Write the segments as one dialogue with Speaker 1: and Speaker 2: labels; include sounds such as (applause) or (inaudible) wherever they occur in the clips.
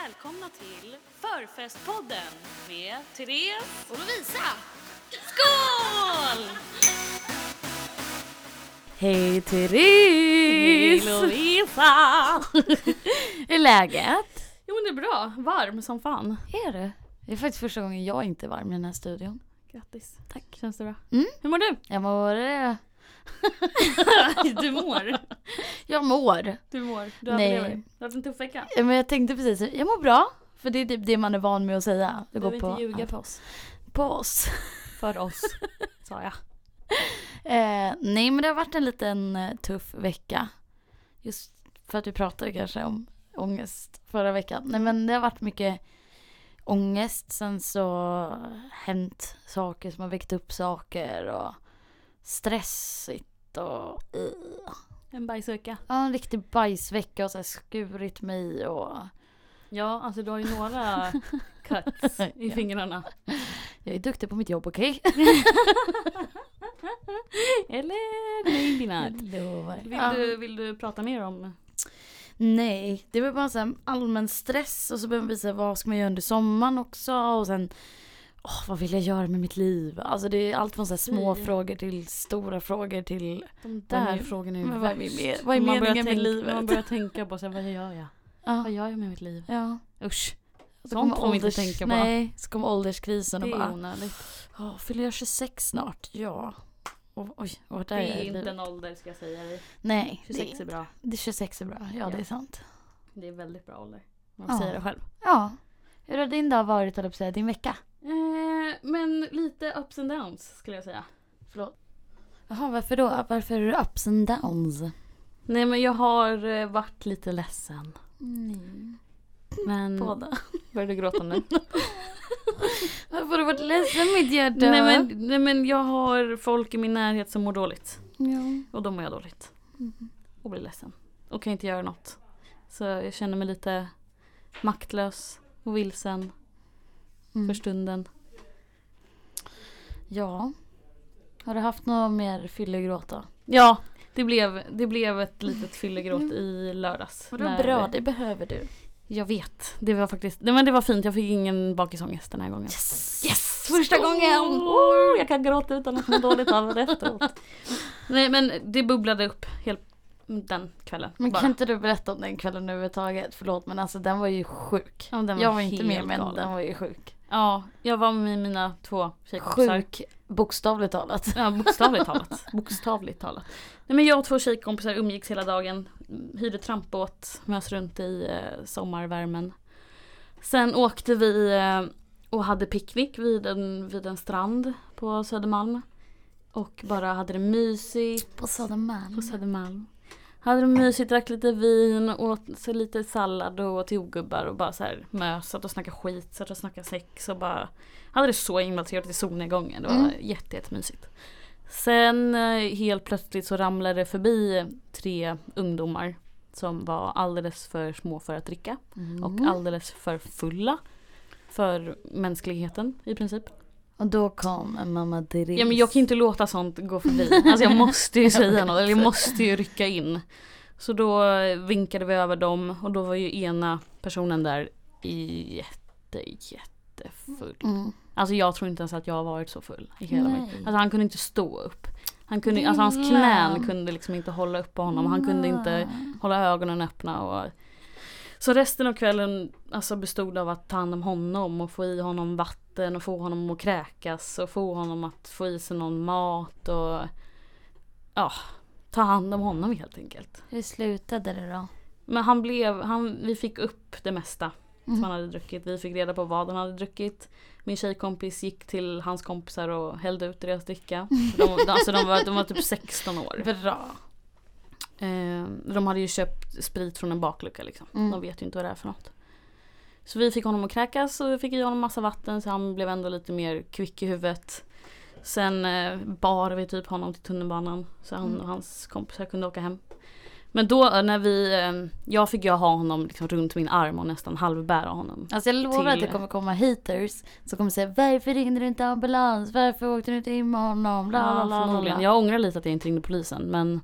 Speaker 1: välkomna till Förfestpodden med Therese.
Speaker 2: Och Lovisa!
Speaker 1: Skål!
Speaker 2: Hej Therese!
Speaker 1: Lovisa!
Speaker 2: (laughs) Hur är läget?
Speaker 1: Jo men det är bra, varm som fan.
Speaker 2: Är det? Det är faktiskt första gången jag inte är varm i den här studion.
Speaker 1: Grattis.
Speaker 2: Tack.
Speaker 1: Känns det bra?
Speaker 2: Mm.
Speaker 1: Hur mår du?
Speaker 2: Jag mår... eh,
Speaker 1: du mår.
Speaker 2: Jag mår.
Speaker 1: (laughs) Du mår. Du
Speaker 2: Nej.
Speaker 1: överlever. Du har haft en tuff vecka.
Speaker 2: Ja, Men jag tänkte precis, jag mår bra. För det är typ det man är van med att säga.
Speaker 1: Du
Speaker 2: Det
Speaker 1: behöver inte ljuga på oss.
Speaker 2: på oss. (laughs)
Speaker 1: För oss, sa jag.
Speaker 2: Eh, nej men det har varit en liten eh, tuff vecka. Just för att vi pratade kanske om ångest förra veckan. Nej men det har varit mycket ångest. Sen så har hänt saker som har väckt upp saker och stressigt och eh.
Speaker 1: En bajsvecka.
Speaker 2: ja, en riktig bajsvecka och så här skurit mig och
Speaker 1: Ja, alltså du har ju
Speaker 2: (laughs)
Speaker 1: några cuts i
Speaker 2: Ja.
Speaker 1: fingrarna.
Speaker 2: jag är duktig på mitt jobb okej?
Speaker 1: Eller maybe
Speaker 2: (laughs)
Speaker 1: not.
Speaker 2: Jag lovar.
Speaker 1: Vill,
Speaker 2: Ja.
Speaker 1: du, vill du prata mer om
Speaker 2: Nej, det var bara så här allmän stress och så började man visa vad ska man göra under sommaren också och sen åh, vad vill jag göra med mitt liv? Alltså det är allt från så här små
Speaker 1: Fy.
Speaker 2: frågor till stora frågor till
Speaker 1: de
Speaker 2: de här
Speaker 1: där
Speaker 2: frågorna är
Speaker 1: Men
Speaker 2: värst.
Speaker 1: vad är
Speaker 2: Vad är
Speaker 1: Om man börjar
Speaker 2: meningen med
Speaker 1: tänka-
Speaker 2: livet?
Speaker 1: om Man börjar tänka på sig, vad gör jag?
Speaker 2: ja.
Speaker 1: Vad gör jag med mitt liv?
Speaker 2: ja.
Speaker 1: Usch.
Speaker 2: Och så
Speaker 1: Sånt
Speaker 2: kommer
Speaker 1: får vi inte
Speaker 2: ålders-
Speaker 1: tänka på.
Speaker 2: Nej, så kommer ålderskrisen
Speaker 1: det
Speaker 2: och
Speaker 1: är
Speaker 2: bara
Speaker 1: onödigt.
Speaker 2: åh, fyller jag 26 snart? Ja. Och, oj, vart
Speaker 1: Det
Speaker 2: är jag
Speaker 1: är
Speaker 2: i
Speaker 1: inte
Speaker 2: livet?
Speaker 1: en ålder ska jag säga dig.
Speaker 2: Nej,
Speaker 1: 26
Speaker 2: det,
Speaker 1: är bra.
Speaker 2: det, 26 är bra. Ja,
Speaker 1: Ja.
Speaker 2: det är sant.
Speaker 1: Det är väldigt bra ålder. Man
Speaker 2: Ja.
Speaker 1: säger det själv.
Speaker 2: Ja. Hur har din dag varit, höll jag på att säga, din vecka?
Speaker 1: Eh, men lite ups and downs skulle jag säga.
Speaker 2: Förlåt. Jaha, varför då? Varför är det ups and downs?
Speaker 1: Nej men jag har eh, varit lite ledsen.
Speaker 2: Nej.
Speaker 1: Men...
Speaker 2: Båda.
Speaker 1: (laughs) Börjar du gråta nu?
Speaker 2: Varför har du varit ledsen mitt hjärta?
Speaker 1: nej, men, nej men jag har folk i min närhet som mår dåligt.
Speaker 2: Ja.
Speaker 1: Och då mår jag dåligt. Och blir ledsen. Och kan inte göra något. Så jag känner mig lite maktlös och vilsen för
Speaker 2: Mm.
Speaker 1: stunden.
Speaker 2: ja. Har du haft något mer fyllegråt då?
Speaker 1: Ja, det blev, det blev ett litet fyllegråt i lördags. när-
Speaker 2: behöver du.
Speaker 1: Jag vet. Det var faktiskt, nej men det var fint. Jag fick ingen bakisångest den här gången.
Speaker 2: Yes!
Speaker 1: Yes! Första
Speaker 2: Skål!
Speaker 1: gången! Oh, jag kan gråta utan att må dåligt av det efteråt. (laughs) Nej men det bubblade upp helt den kvällen.
Speaker 2: (laughs) Men
Speaker 1: bara.
Speaker 2: kan inte du berätta om den kvällen överhuvudtaget? Förlåt men alltså den var ju sjuk.
Speaker 1: Ja, den var
Speaker 2: jag var inte
Speaker 1: helt
Speaker 2: med men
Speaker 1: galen.
Speaker 2: den var ju sjuk.
Speaker 1: Ja, jag var med mina två tjejkompisar.
Speaker 2: Sjuk bokstavligt talat.
Speaker 1: Ja, bokstavligt talat. Bokstavligt talat. Nej, men jag och två tjejkompisar umgicks hela dagen. Mm, Hyrde trampbåt, mös runt i eh, sommarvärmen. Sen åkte vi eh, och hade picknick vid en, vid en strand på Södermalm. Och bara hade det mysigt
Speaker 2: På
Speaker 1: (laughs)
Speaker 2: Södermalm.
Speaker 1: på Södermalm. Hade det mysigt, drack lite vin, åt så lite sallad och åt jordgubbar och bara så här mös, satt och snackade skit, satt och snackade sex och bara hade det så himla trevligt i solnedgången. Det var
Speaker 2: Mm.
Speaker 1: jätte, jättemysigt. Sen eh, helt plötsligt så ramlade det förbi tre ungdomar som var alldeles för små för att dricka
Speaker 2: Mm.
Speaker 1: och alldeles för fulla för mänskligheten i princip.
Speaker 2: och då kom en mamma Therese.
Speaker 1: Ja men jag kan ju inte låta sånt gå förbi. Alltså jag måste ju
Speaker 2: (laughs)
Speaker 1: säga något, eller jag måste ju rycka in. Så då vinkade vi över dem och då var ju ena personen där jätte, jättefull.
Speaker 2: Mm.
Speaker 1: Alltså jag tror inte ens att jag har varit så full i hela mitt
Speaker 2: Nej.
Speaker 1: Alltså han kunde inte stå upp. Han kunde,
Speaker 2: Lilla.
Speaker 1: alltså hans knän kunde liksom inte hålla upp på honom. Han
Speaker 2: Ah.
Speaker 1: kunde inte hålla ögonen öppna. Och... Så resten av kvällen alltså, bestod av att ta hand om honom och få i honom vatten och få honom att kräkas och få honom att få i sig någon mat och ja, ta hand om honom helt enkelt.
Speaker 2: Hur slutade det då?
Speaker 1: Men han blev, han, vi fick upp det mesta som
Speaker 2: Mm.
Speaker 1: han hade druckit. Vi fick reda på vad han hade druckit. Min tjejkompis gick till hans kompisar och hällde ut deras dricka. De, de, alltså de, var, de var typ 16
Speaker 2: (laughs)
Speaker 1: år.
Speaker 2: Bra.
Speaker 1: Eh, de hade ju köpt sprit från en baklucka liksom.
Speaker 2: Mm.
Speaker 1: De vet ju inte vad det är för något. Så vi fick honom att kräkas och vi fick i honom massa vatten så han blev ändå lite mer kvick i huvudet. Sen eh, bar vi typ honom till tunnelbanan så han
Speaker 2: Mm.
Speaker 1: och hans kompisar kunde åka hem. Men då eh, när vi, eh, jag fick ju ha honom liksom runt min arm och nästan halvbära honom.
Speaker 2: Alltså jag lovar att
Speaker 1: till-
Speaker 2: det kommer komma haters som kommer säga varför ringde du inte ambulans? Varför åkte du inte in med honom? Bla, bla,
Speaker 1: Ja,
Speaker 2: bla, bla,
Speaker 1: förmodligen.
Speaker 2: bla.
Speaker 1: Jag ångrar lite att jag inte ringde polisen men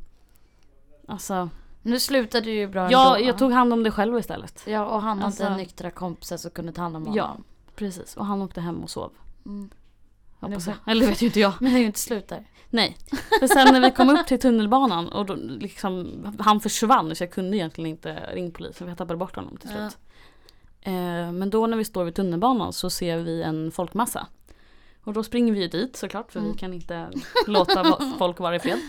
Speaker 1: Alltså
Speaker 2: Nu slutade ju bra
Speaker 1: Ja,
Speaker 2: ändå.
Speaker 1: jag tog hand om det själv istället.
Speaker 2: Ja, och han
Speaker 1: Alltså-
Speaker 2: hade nyktra kompisar som kunde ta hand om honom.
Speaker 1: Ja, precis. Och han åkte hem och sov.
Speaker 2: Mm.
Speaker 1: Hoppas
Speaker 2: Nej,
Speaker 1: jag. Eller det vet ju inte jag.
Speaker 2: Men det är ju inte slut där.
Speaker 1: Nej. För sen när vi kom upp till tunnelbanan och då liksom, han försvann så jag kunde egentligen inte ringa polisen för jag tappade bort honom till slut. Eh, Men då när vi står vid tunnelbanan så ser vi en folkmassa. Och då springer vi ju dit såklart för
Speaker 2: Mm.
Speaker 1: vi kan inte låta va- folk vara i fred.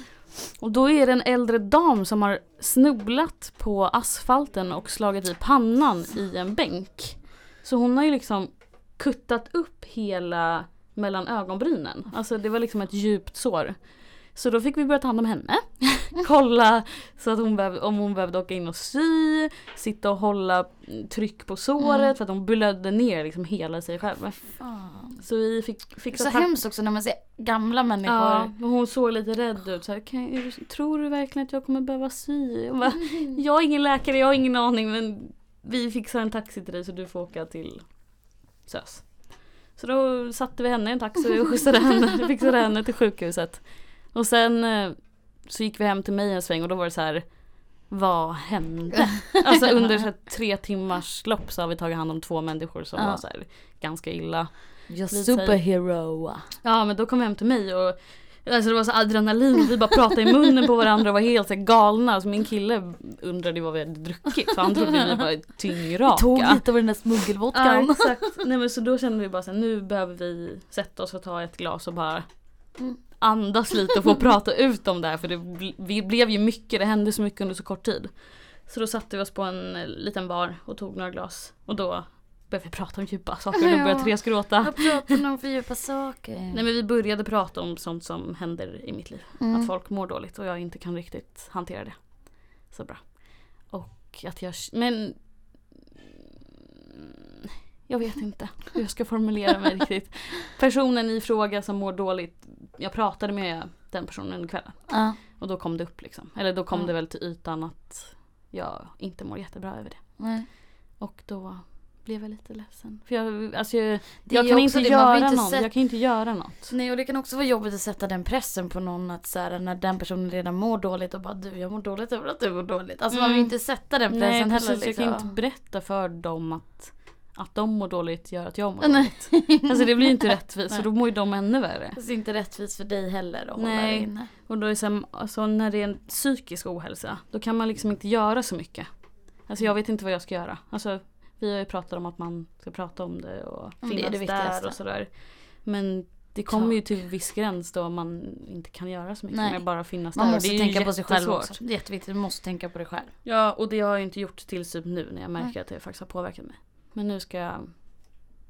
Speaker 1: Och då är det en äldre dam som har snubblat på asfalten och slagit i pannan i en bänk. Så hon har ju liksom kuttat upp hela mellan ögonbrynen. Alltså det var liksom ett djupt sår. Så då fick vi börja ta hand om henne. (laughs) Kolla så att hon behöv, om hon behövde åka in och sy, sitta och hålla mm, tryck på såret
Speaker 2: Mm.
Speaker 1: för att hon blödde ner liksom hela sig själv.
Speaker 2: Fan.
Speaker 1: Så vi fick,
Speaker 2: Det
Speaker 1: fick
Speaker 2: är så hemskt också när man ser gamla människor.
Speaker 1: Ja, och hon såg lite rädd ut. Så här, kan, jag- tror du verkligen att jag kommer behöva sy? Jag,
Speaker 2: (laughs)
Speaker 1: bara, jag är ingen läkare, jag har ingen aning men vi fixar en taxi till dig så du får åka till SÖS. Så då satte vi henne i en taxi och skjutsade henne, (laughs) fixade henne till sjukhuset. Och sen eh, så gick vi hem till mig en sväng och då var det så här vad hände? Alltså under så här tre timmars lopp så har vi tagit hand om två människor som
Speaker 2: Ja.
Speaker 1: var så här ganska illa.
Speaker 2: Jag
Speaker 1: Lite så här-
Speaker 2: superhero.
Speaker 1: Ja men då kom jag hem till mig och Alltså det var så adrenalin, vi bara pratade i munnen på varandra och var helt så här galna. Alltså min kille undrade ju vad vi hade druckit för han trodde vi var
Speaker 2: Jag tog
Speaker 1: tyngraka.
Speaker 2: lite av den
Speaker 1: Ja
Speaker 2: där smuggelvodkan.
Speaker 1: exakt. Nej men så då kände vi bara så här, nu behöver vi sätta oss och ta ett glas och bara
Speaker 2: Mm.
Speaker 1: andas lite och få prata ut om det här för det bl- vi blev ju mycket, det hände så mycket under så kort tid. Så då satte vi oss på en eh, liten bar och tog några glas och då började vi prata om djupa saker och då började
Speaker 2: Ja.
Speaker 1: Therese gråta.
Speaker 2: Jag pratar om för djupa saker.
Speaker 1: Nej men vi började prata om sånt som händer i mitt liv.
Speaker 2: Mm.
Speaker 1: Att folk mår dåligt och jag inte kan riktigt hantera det så bra. Och att jag, men mm, jag vet inte hur jag ska formulera
Speaker 2: (laughs)
Speaker 1: mig riktigt. Personen i fråga som mår dåligt, jag pratade med den personen under kvällen
Speaker 2: Ja.
Speaker 1: och då kom det upp liksom. Eller då kom
Speaker 2: Mm.
Speaker 1: det väl till ytan att jag inte mår jättebra över det.
Speaker 2: Nej.
Speaker 1: Och då blev jag lite ledsen. För jag, alltså jag,
Speaker 2: Det är
Speaker 1: jag
Speaker 2: ju
Speaker 1: kan
Speaker 2: också
Speaker 1: inte
Speaker 2: det, man vill
Speaker 1: göra något.
Speaker 2: sätta-
Speaker 1: Jag kan inte göra något.
Speaker 2: Nej och det kan också vara jobbigt att sätta den pressen på någon att så här, när den personen redan mår dåligt och bara du jag mår dåligt över att du mår dåligt. Alltså man vill
Speaker 1: Mm.
Speaker 2: inte sätta den
Speaker 1: Nej
Speaker 2: pressen
Speaker 1: precis,
Speaker 2: heller.
Speaker 1: jag
Speaker 2: Liksom.
Speaker 1: kan ju inte
Speaker 2: (laughs)
Speaker 1: berätta för dem att, att de mår dåligt gör att jag mår dåligt.
Speaker 2: Nej.
Speaker 1: Alltså det blir ju
Speaker 2: (laughs)
Speaker 1: inte rättvist så
Speaker 2: Nej.
Speaker 1: då mår ju de ännu värre.
Speaker 2: Det är inte rättvist för dig heller att hålla
Speaker 1: Nej.
Speaker 2: det inne.
Speaker 1: Och då är det så här, alltså, när det är en psykisk ohälsa då kan man liksom inte göra så mycket. Alltså jag vet inte vad jag ska göra. Alltså vi har ju pratat om att man ska prata om det och
Speaker 2: det är
Speaker 1: finnas
Speaker 2: det
Speaker 1: där
Speaker 2: viktigaste.
Speaker 1: och sådär. Men det kommer ju till viss gräns då man inte kan göra så mycket.
Speaker 2: Nej.
Speaker 1: Men bara finnas
Speaker 2: Man
Speaker 1: där.
Speaker 2: måste
Speaker 1: och det är ju
Speaker 2: tänka på sig själv
Speaker 1: jättesvårt.
Speaker 2: också. Det är jätteviktigt, du måste tänka på dig själv.
Speaker 1: Ja, och det har jag inte gjort tills typ nu när jag märker
Speaker 2: Nej.
Speaker 1: att det faktiskt har påverkat mig. Men nu ska jag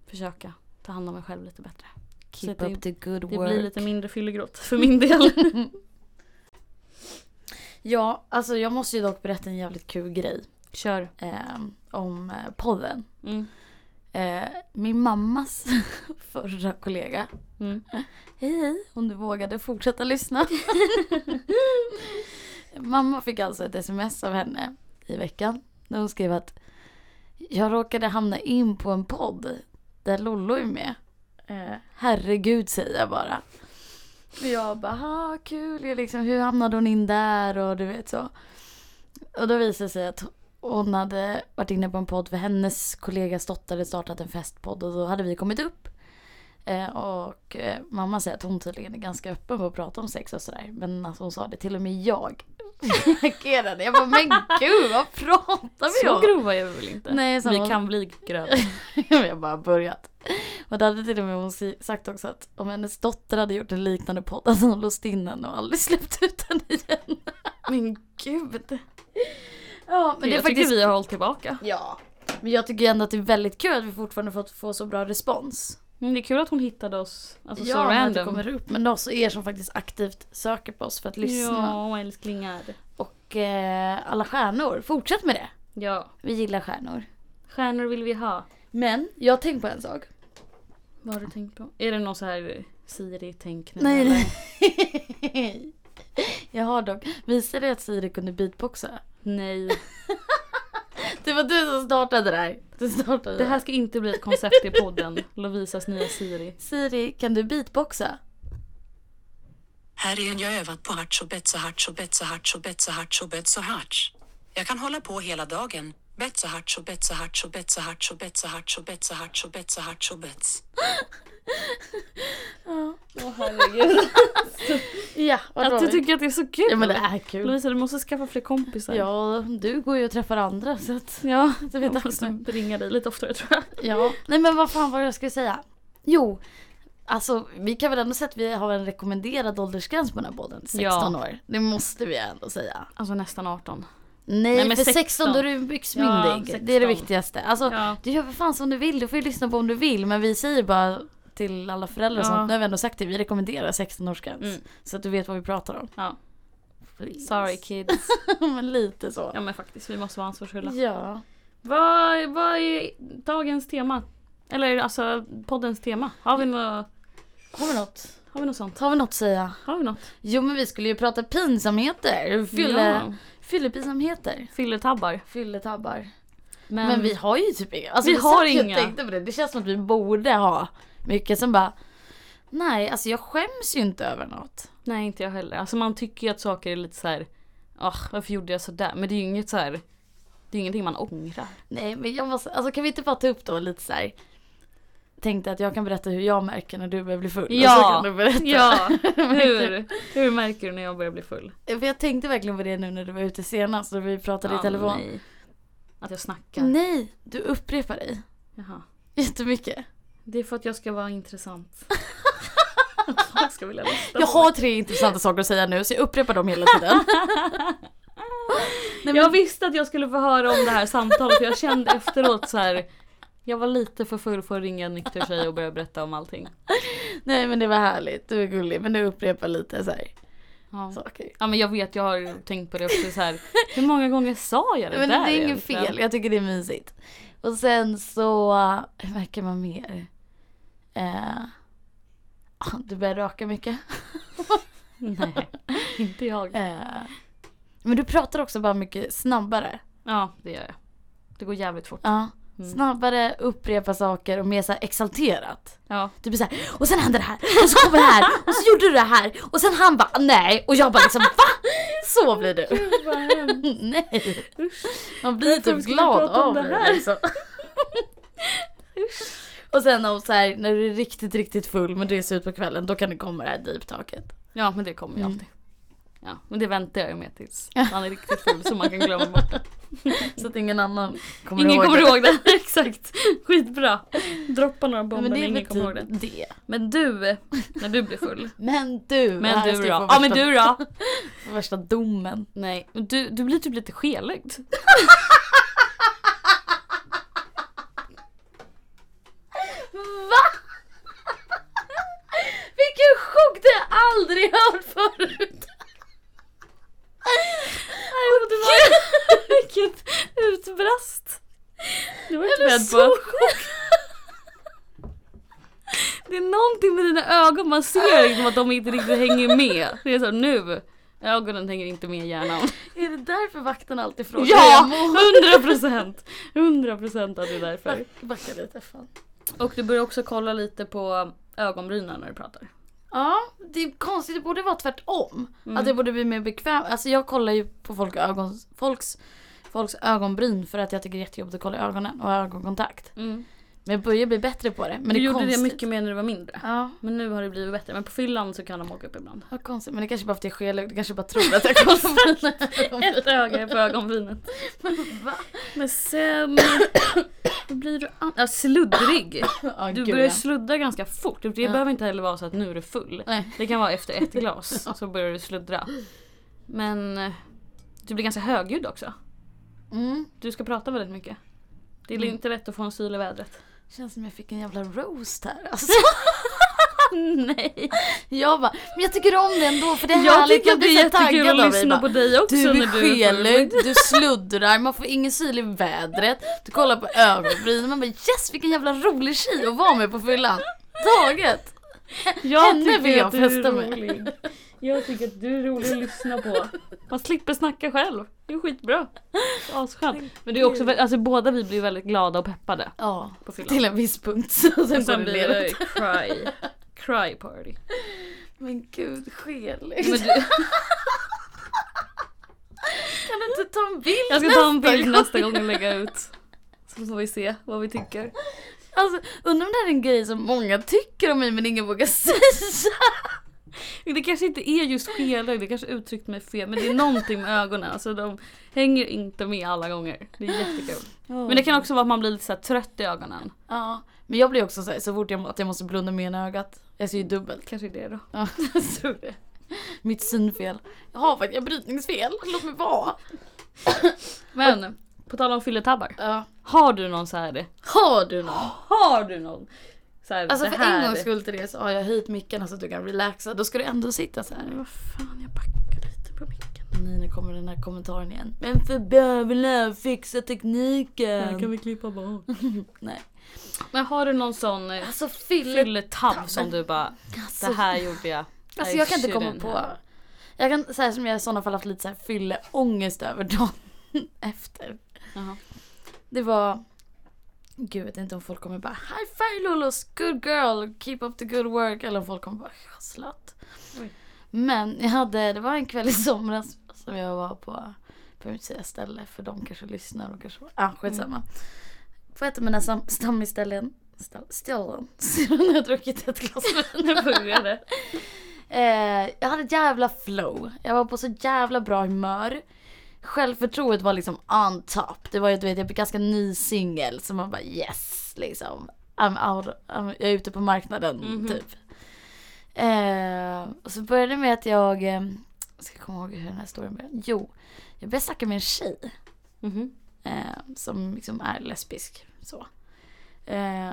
Speaker 1: försöka ta hand om mig själv lite bättre.
Speaker 2: Keep
Speaker 1: det-
Speaker 2: up the good
Speaker 1: Det
Speaker 2: work.
Speaker 1: blir lite mindre fyllegråt för min (laughs) del.
Speaker 2: Ja, alltså jag måste ju dock berätta en jävligt kul grej
Speaker 1: Kör.
Speaker 2: eh, om eh, podden.
Speaker 1: Mm.
Speaker 2: Eh, min mammas (laughs) förra kollega
Speaker 1: Mm.
Speaker 2: Hej, hej, om du vågade fortsätta lyssna. Mamma fick alltså ett sms av henne i veckan. Där hon skrev att jag råkade hamna in på en podd där Lollo är med. Eh, herregud säger jag bara. Och jag bara, ha kul, Jag liksom, hur hamnade hon in där och du vet så. Och då visade det sig att hon hade varit inne på en podd för hennes kollegas dotter hade startat en festpodd och då hade vi kommit upp. Eh, och eh, mamma säger att hon tydligen är ganska öppen för att prata om sex och sådär. Men alltså hon sa det, till och med jag (laughs) reagerade. Jag bara, men gud vad pratar vi
Speaker 1: Så
Speaker 2: om?
Speaker 1: grova är vi väl inte?
Speaker 2: Nej, så
Speaker 1: vi
Speaker 2: hon-
Speaker 1: kan bli gröva.
Speaker 2: (laughs) jag har bara börjat. Och det hade till och med hon si- sagt också att om hennes dotter hade gjort en liknande podd hade hon låst in henne och aldrig (laughs) släppt ut henne igen.
Speaker 1: (laughs) Men gud.
Speaker 2: Ja,
Speaker 1: Men det är faktiskt vi har hållit tillbaka.
Speaker 2: Ja. Men jag tycker ändå att det är väldigt kul att vi fortfarande fått få så bra respons.
Speaker 1: Men det är kul att hon hittade oss. Alltså så
Speaker 2: när det
Speaker 1: random.
Speaker 2: kommer upp. Men också er som faktiskt aktivt söker på oss för att lyssna.
Speaker 1: Ja, oh, älsklingar.
Speaker 2: Och eh, alla stjärnor, fortsätt med det.
Speaker 1: Ja.
Speaker 2: Vi gillar stjärnor.
Speaker 1: Stjärnor vill vi ha.
Speaker 2: Men jag har tänkt på en sak.
Speaker 1: Vad har du tänkt på? Är det någon så här eh, Siri-tänk nu?
Speaker 2: Nej,
Speaker 1: eller?
Speaker 2: nej. (laughs) jag har dock. Visade jag att Siri kunde beatboxa?
Speaker 1: Nej.
Speaker 2: Det var du som startade det här. Du startade
Speaker 1: Det här ska inte bli ett koncept i podden. Lovisas nya Siri.
Speaker 2: Siri, kan du beatboxa?
Speaker 3: Här är en jag övat på hartsobetsa hartsobetsa hartsobetsa hartsobetsa harts. Jag kan hålla på hela dagen. Betsa hartso, betsa hartso, betsa hartso, betsa hartso, betsa hartso, betsa hartso, bets.
Speaker 1: Åh herregud.
Speaker 2: Ja,
Speaker 1: Att du tycker att det är så kul.
Speaker 2: Ja men det är kul.
Speaker 1: Lovisa du måste skaffa fler kompisar.
Speaker 2: Ja, du går ju och träffar andra så att
Speaker 1: Ja,
Speaker 2: jag
Speaker 1: jag
Speaker 2: vet
Speaker 1: måste
Speaker 2: inte.
Speaker 1: ringa dig lite oftare tror jag.
Speaker 2: Ja. Nej men vad fan var det jag skulle säga? Jo, alltså vi kan väl ändå säga att vi har en rekommenderad åldersgräns på den här podden. 16
Speaker 1: Ja.
Speaker 2: år. Det måste vi ändå säga.
Speaker 1: Alltså nästan 18.
Speaker 2: Nej,
Speaker 1: Nej, men
Speaker 2: för
Speaker 1: 16.
Speaker 2: 16 då är du byxmyndig.
Speaker 1: Ja,
Speaker 2: det är det
Speaker 1: 16.
Speaker 2: viktigaste. Alltså,
Speaker 1: Ja.
Speaker 2: Du gör för fan som du vill, du får ju lyssna på om du vill. Men vi säger bara till alla föräldrar och
Speaker 1: Ja.
Speaker 2: sånt, nu har vi ändå sagt det, vi rekommenderar 16-årsgräns.
Speaker 1: Mm.
Speaker 2: Så att du vet vad vi pratar om.
Speaker 1: Ja.
Speaker 2: Please.
Speaker 1: Sorry kids.
Speaker 2: (laughs) men lite så.
Speaker 1: Ja men faktiskt, vi måste vara ansvarsfulla.
Speaker 2: Ja.
Speaker 1: Vad, vad är dagens tema? Eller alltså poddens tema? Har vi något,
Speaker 2: Har vi något?
Speaker 1: har vi något sånt?
Speaker 2: Har vi något att säga?
Speaker 1: Har vi något?
Speaker 2: Jo men vi skulle ju prata pinsamheter. Fylle,
Speaker 1: Ja.
Speaker 2: Fyllepinsamheter.
Speaker 1: Fylletabbar.
Speaker 2: Fylletabbar.
Speaker 1: Men,
Speaker 2: Men vi har ju typ inga. Alltså,
Speaker 1: Mm. Vi
Speaker 2: vi
Speaker 1: har
Speaker 2: har
Speaker 1: inga.
Speaker 2: Jag tänkte på det. det känns som att vi borde ha mycket som bara Nej, alltså jag skäms ju inte över något.
Speaker 1: Nej inte jag heller. Alltså man tycker ju att saker är lite så här. "Ah, varför gjorde jag sådär? Men det är ju inget så här. Det är ingenting man ångrar.
Speaker 2: Nej, men jag måste, alltså kan vi inte bara ta upp då lite så här. Tänkte att jag kan berätta hur jag märker när du börjar bli full. Och så kan du berätta. (laughs)
Speaker 1: ja. Hur, hur märker du när jag börjar bli full?
Speaker 2: För jag tänkte verkligen på det nu när du var ute senast och vi pratade i telefon. Nej.
Speaker 1: nej. Att jag snackar.
Speaker 2: nej, du upprepar dig
Speaker 1: Jaha.
Speaker 2: jättemycket.
Speaker 1: Det är för att jag ska vara
Speaker 2: (laughs)
Speaker 1: intressant. jag ska vilja lyssna
Speaker 2: Jag
Speaker 1: på
Speaker 2: har tre intressanta saker att säga nu så jag upprepar dem hela
Speaker 1: (laughs)
Speaker 2: tiden. Nej, men-
Speaker 1: Jag visste att jag skulle få höra om det här samtalet för jag kände efteråt så här. Jag var lite för full för att ringa en nykter tjej och börja berätta om allting.
Speaker 2: Nej men det var härligt, du är gullig men du upprepar lite så här
Speaker 1: Ja.
Speaker 2: saker.
Speaker 1: ja men jag vet, jag har tänkt på det också så här. Hur många gånger sa jag det
Speaker 2: Men det
Speaker 1: där
Speaker 2: är inget
Speaker 1: egentligen?
Speaker 2: fel, jag tycker det är mysigt. Och sen så, hur märker man mer? Eh, ah, du börjar röka mycket.
Speaker 1: Nej, inte
Speaker 2: (laughs)
Speaker 1: jag.
Speaker 2: Eh, men du pratar också bara mycket snabbare.
Speaker 1: Ja det gör jag. Det går jävligt fort.
Speaker 2: Ja.
Speaker 1: Mm.
Speaker 2: Snabbare, upprepa saker och mer så här exalterat.
Speaker 1: Ja.
Speaker 2: Du blir såhär, och sen hände det typ här, och så kom det här, och så gjorde du det här, och sen han bara nej, och jag bara liksom va? Så blir du. (laughs) Nej. Man blir
Speaker 1: Varför
Speaker 2: typ
Speaker 1: ska vi
Speaker 2: glad
Speaker 1: prata om
Speaker 2: av
Speaker 1: det
Speaker 2: det
Speaker 1: här?
Speaker 2: här. Liksom.
Speaker 1: (laughs)
Speaker 2: Och sen om så här, när du är riktigt, riktigt full men du är slut på kvällen då kan det komma det här deep talket.
Speaker 1: Ja men det kommer ju
Speaker 2: Mm.
Speaker 1: alltid. Ja, men det väntar jag ju med tills man är riktigt full så man kan glömma bort det.
Speaker 2: Så att ingen annan kommer
Speaker 1: Ingen
Speaker 2: ihåg
Speaker 1: kommer
Speaker 2: det.
Speaker 1: ihåg
Speaker 2: (laughs)
Speaker 1: det. Exakt. (laughs) Skitbra. Droppa några
Speaker 2: Nej,
Speaker 1: bomber
Speaker 2: men
Speaker 1: men
Speaker 2: det är
Speaker 1: ingen
Speaker 2: väl
Speaker 1: kommer ihåg det.
Speaker 2: typ det.
Speaker 1: Men du, när du blir full.
Speaker 2: Men du.
Speaker 1: Men
Speaker 2: här
Speaker 1: du
Speaker 2: ska
Speaker 1: då?
Speaker 2: jag få
Speaker 1: Ja men
Speaker 2: värsta-
Speaker 1: du då?
Speaker 2: (laughs) få Värsta domen.
Speaker 1: Nej, men du, du blir typ lite skelögd.
Speaker 2: Va? Vilken chock! Det har jag aldrig hört förut.
Speaker 1: det
Speaker 2: (laughs)
Speaker 1: var, vilket utbrast. Det var jag inte beredd på. Det är någonting med dina ögon, man ser liksom att de inte riktigt hänger med. Det är så nu, ögonen hänger inte med i (laughs) hjärnan.
Speaker 2: Är det därför vakten alltid frågar hur
Speaker 1: Ja,
Speaker 2: jag mår?
Speaker 1: hundra procent. Hundra procent att det är därför.
Speaker 2: Back- Backa lite, fan.
Speaker 1: Och du börjar också kolla lite på ögonbrynen när du pratar.
Speaker 2: Ja, det är konstigt. Det borde vara tvärtom.
Speaker 1: Mm.
Speaker 2: Att det borde bli mer bekvämt. Alltså jag kollar ju på folk ögon, folks, folks ögonbryn för att jag tycker det är jättejobbigt att kolla i ögonen och ha ögonkontakt. Men jag börjar bli bättre på det. Men
Speaker 1: Mm. du
Speaker 2: det är
Speaker 1: gjorde
Speaker 2: konstigt.
Speaker 1: det mycket mer när du var mindre.
Speaker 2: Ja,
Speaker 1: Men nu har det blivit bättre. Men på fyllan så kan de åka upp
Speaker 2: (laughs)
Speaker 1: ibland.
Speaker 2: vad konstigt. Men det kanske bara för att jag är skelögd. Du kanske bara tror att
Speaker 1: (laughs)
Speaker 2: jag kollar på dina
Speaker 1: Ett öga är på ögonbrynet.
Speaker 2: Va?
Speaker 1: Men sen (coughs) då blir du an- ja, sluddrig.
Speaker 2: Ja,
Speaker 1: Du
Speaker 2: Ah, gud,
Speaker 1: börjar
Speaker 2: ja.
Speaker 1: sluddra ganska fort. Det
Speaker 2: Ja.
Speaker 1: behöver inte heller vara så att nu är du full.
Speaker 2: Nej.
Speaker 1: Det kan vara efter ett
Speaker 2: (laughs)
Speaker 1: glas så börjar du sluddra. Men eh, du blir ganska högljudd också.
Speaker 2: Mm.
Speaker 1: Du ska prata väldigt mycket. Det är
Speaker 2: Mm.
Speaker 1: inte lätt att få en syl i
Speaker 2: (laughs)
Speaker 1: vädret.
Speaker 2: Känns som jag fick en jävla roast här alltså. (laughs)
Speaker 1: Nej.
Speaker 2: Jag bara, men jag tycker om det ändå för det är
Speaker 1: Jag
Speaker 2: härligt.
Speaker 1: tycker att det är
Speaker 2: blir så
Speaker 1: jättekul
Speaker 2: taggad
Speaker 1: att
Speaker 2: av dig,
Speaker 1: lyssna
Speaker 2: bara.
Speaker 1: på dig också
Speaker 2: Du är
Speaker 1: när du är full.
Speaker 2: skelögd, du sluddrar, man får ingen syl i vädret. Du kollar på ögonbrynen, man bara yes vilken jävla rolig tjej att vara med på fyllan. Taget!
Speaker 1: Jag
Speaker 2: Henne
Speaker 1: tycker
Speaker 2: vill jag
Speaker 1: att du är
Speaker 2: festa med.
Speaker 1: rolig. Jag tycker att du är rolig att lyssna på. Man slipper snacka själv. Det är skitbra. Det är Asskönt. Men det är också, vä- alltså båda vi blir väldigt glada och peppade
Speaker 2: Ja,
Speaker 1: på fyllan.
Speaker 2: till en viss punkt. (laughs) Sen,
Speaker 1: Och sen
Speaker 2: sen
Speaker 1: blir det cry. Cry party.
Speaker 2: Men gud,
Speaker 1: Men du,
Speaker 2: skelögd. (laughs) Kan du inte ta en bild
Speaker 1: Jag ska ta en
Speaker 2: nästa
Speaker 1: bild
Speaker 2: gång?
Speaker 1: nästa gång och lägga ut. (laughs) Så får vi se vad vi tycker.
Speaker 2: Alltså, undrar om det här är en grej som många tycker om mig men ingen vågar (laughs) säga.
Speaker 1: Det kanske inte är just skelögd, det kanske är uttryckt mig fel. Men det är någonting med ögonen. Alltså de hänger inte med alla gånger. Det är jättekul. Men det kan också vara att man blir lite så här trött i ögonen.
Speaker 2: Ja, men jag blir också så, här, så fort jag, att jag måste blunda med ena ögat. Jag ser ju dubbelt.
Speaker 1: Kanske är det då.
Speaker 2: Ja, (laughs) jag tror det. Mitt synfel. Jag har faktiskt jag har brytningsfel. Låt mig vara.
Speaker 1: Men på tal om fylletabbar.
Speaker 2: Ja.
Speaker 1: Har du någon så här?
Speaker 2: Har du någon?
Speaker 1: Har du någon? Så här,
Speaker 2: Alltså
Speaker 1: det
Speaker 2: för en
Speaker 1: här.
Speaker 2: gångs skull Therese har jag höjt micken så att du kan relaxa. Då ska du ändå sitta så här.
Speaker 1: Vad fan, jag backar lite på micken.
Speaker 2: Nej, nu kommer den här kommentaren igen. Men för bövla, fixa tekniken.
Speaker 1: vi klippa (laughs) bort.
Speaker 2: Nej.
Speaker 1: Men har du någon sån eh,
Speaker 2: Alltså fyller...
Speaker 1: fylletabb som du bara,
Speaker 2: Alltså,
Speaker 1: det här gjorde jag.
Speaker 2: alltså
Speaker 1: Nej,
Speaker 2: jag kan inte
Speaker 1: shit,
Speaker 2: komma
Speaker 1: den
Speaker 2: på.
Speaker 1: här.
Speaker 2: Jag kan säga som jag i sådana fall haft lite så här fylleångest över dagen (laughs) efter.
Speaker 1: Jaha.
Speaker 2: Det var... Gud, jag vet inte om folk kommer bara High five Lolos, good girl, keep up the good work. Eller om folk kommer bara "Ja, slatt.
Speaker 1: Oj.
Speaker 2: Men jag hade, det var en kväll i somras som jag var på, på mitt säga ställe för de kanske lyssnar och kanske, ah skitsamma. På ett av mina sam- stammisställen, stall- ställen, sedan (laughs) jag har druckit ett glas
Speaker 1: (laughs)
Speaker 2: vin.
Speaker 1: Nu börjar det.
Speaker 2: Eh, jag hade ett jävla flow. Jag var på så jävla bra humör. Självförtroendet var liksom on top. Det var ju, du vet, jag blev ganska ny singel så man bara yes liksom. I'm out, I'm, jag är ute på marknaden
Speaker 1: Mhm.
Speaker 2: typ. Eh, och så började det med att jag, eh, ska jag komma ihåg hur den här storyn började. Jo, jag började snacka med en tjej
Speaker 1: Mhm.
Speaker 2: eh, som liksom är lesbisk. Så. Eh,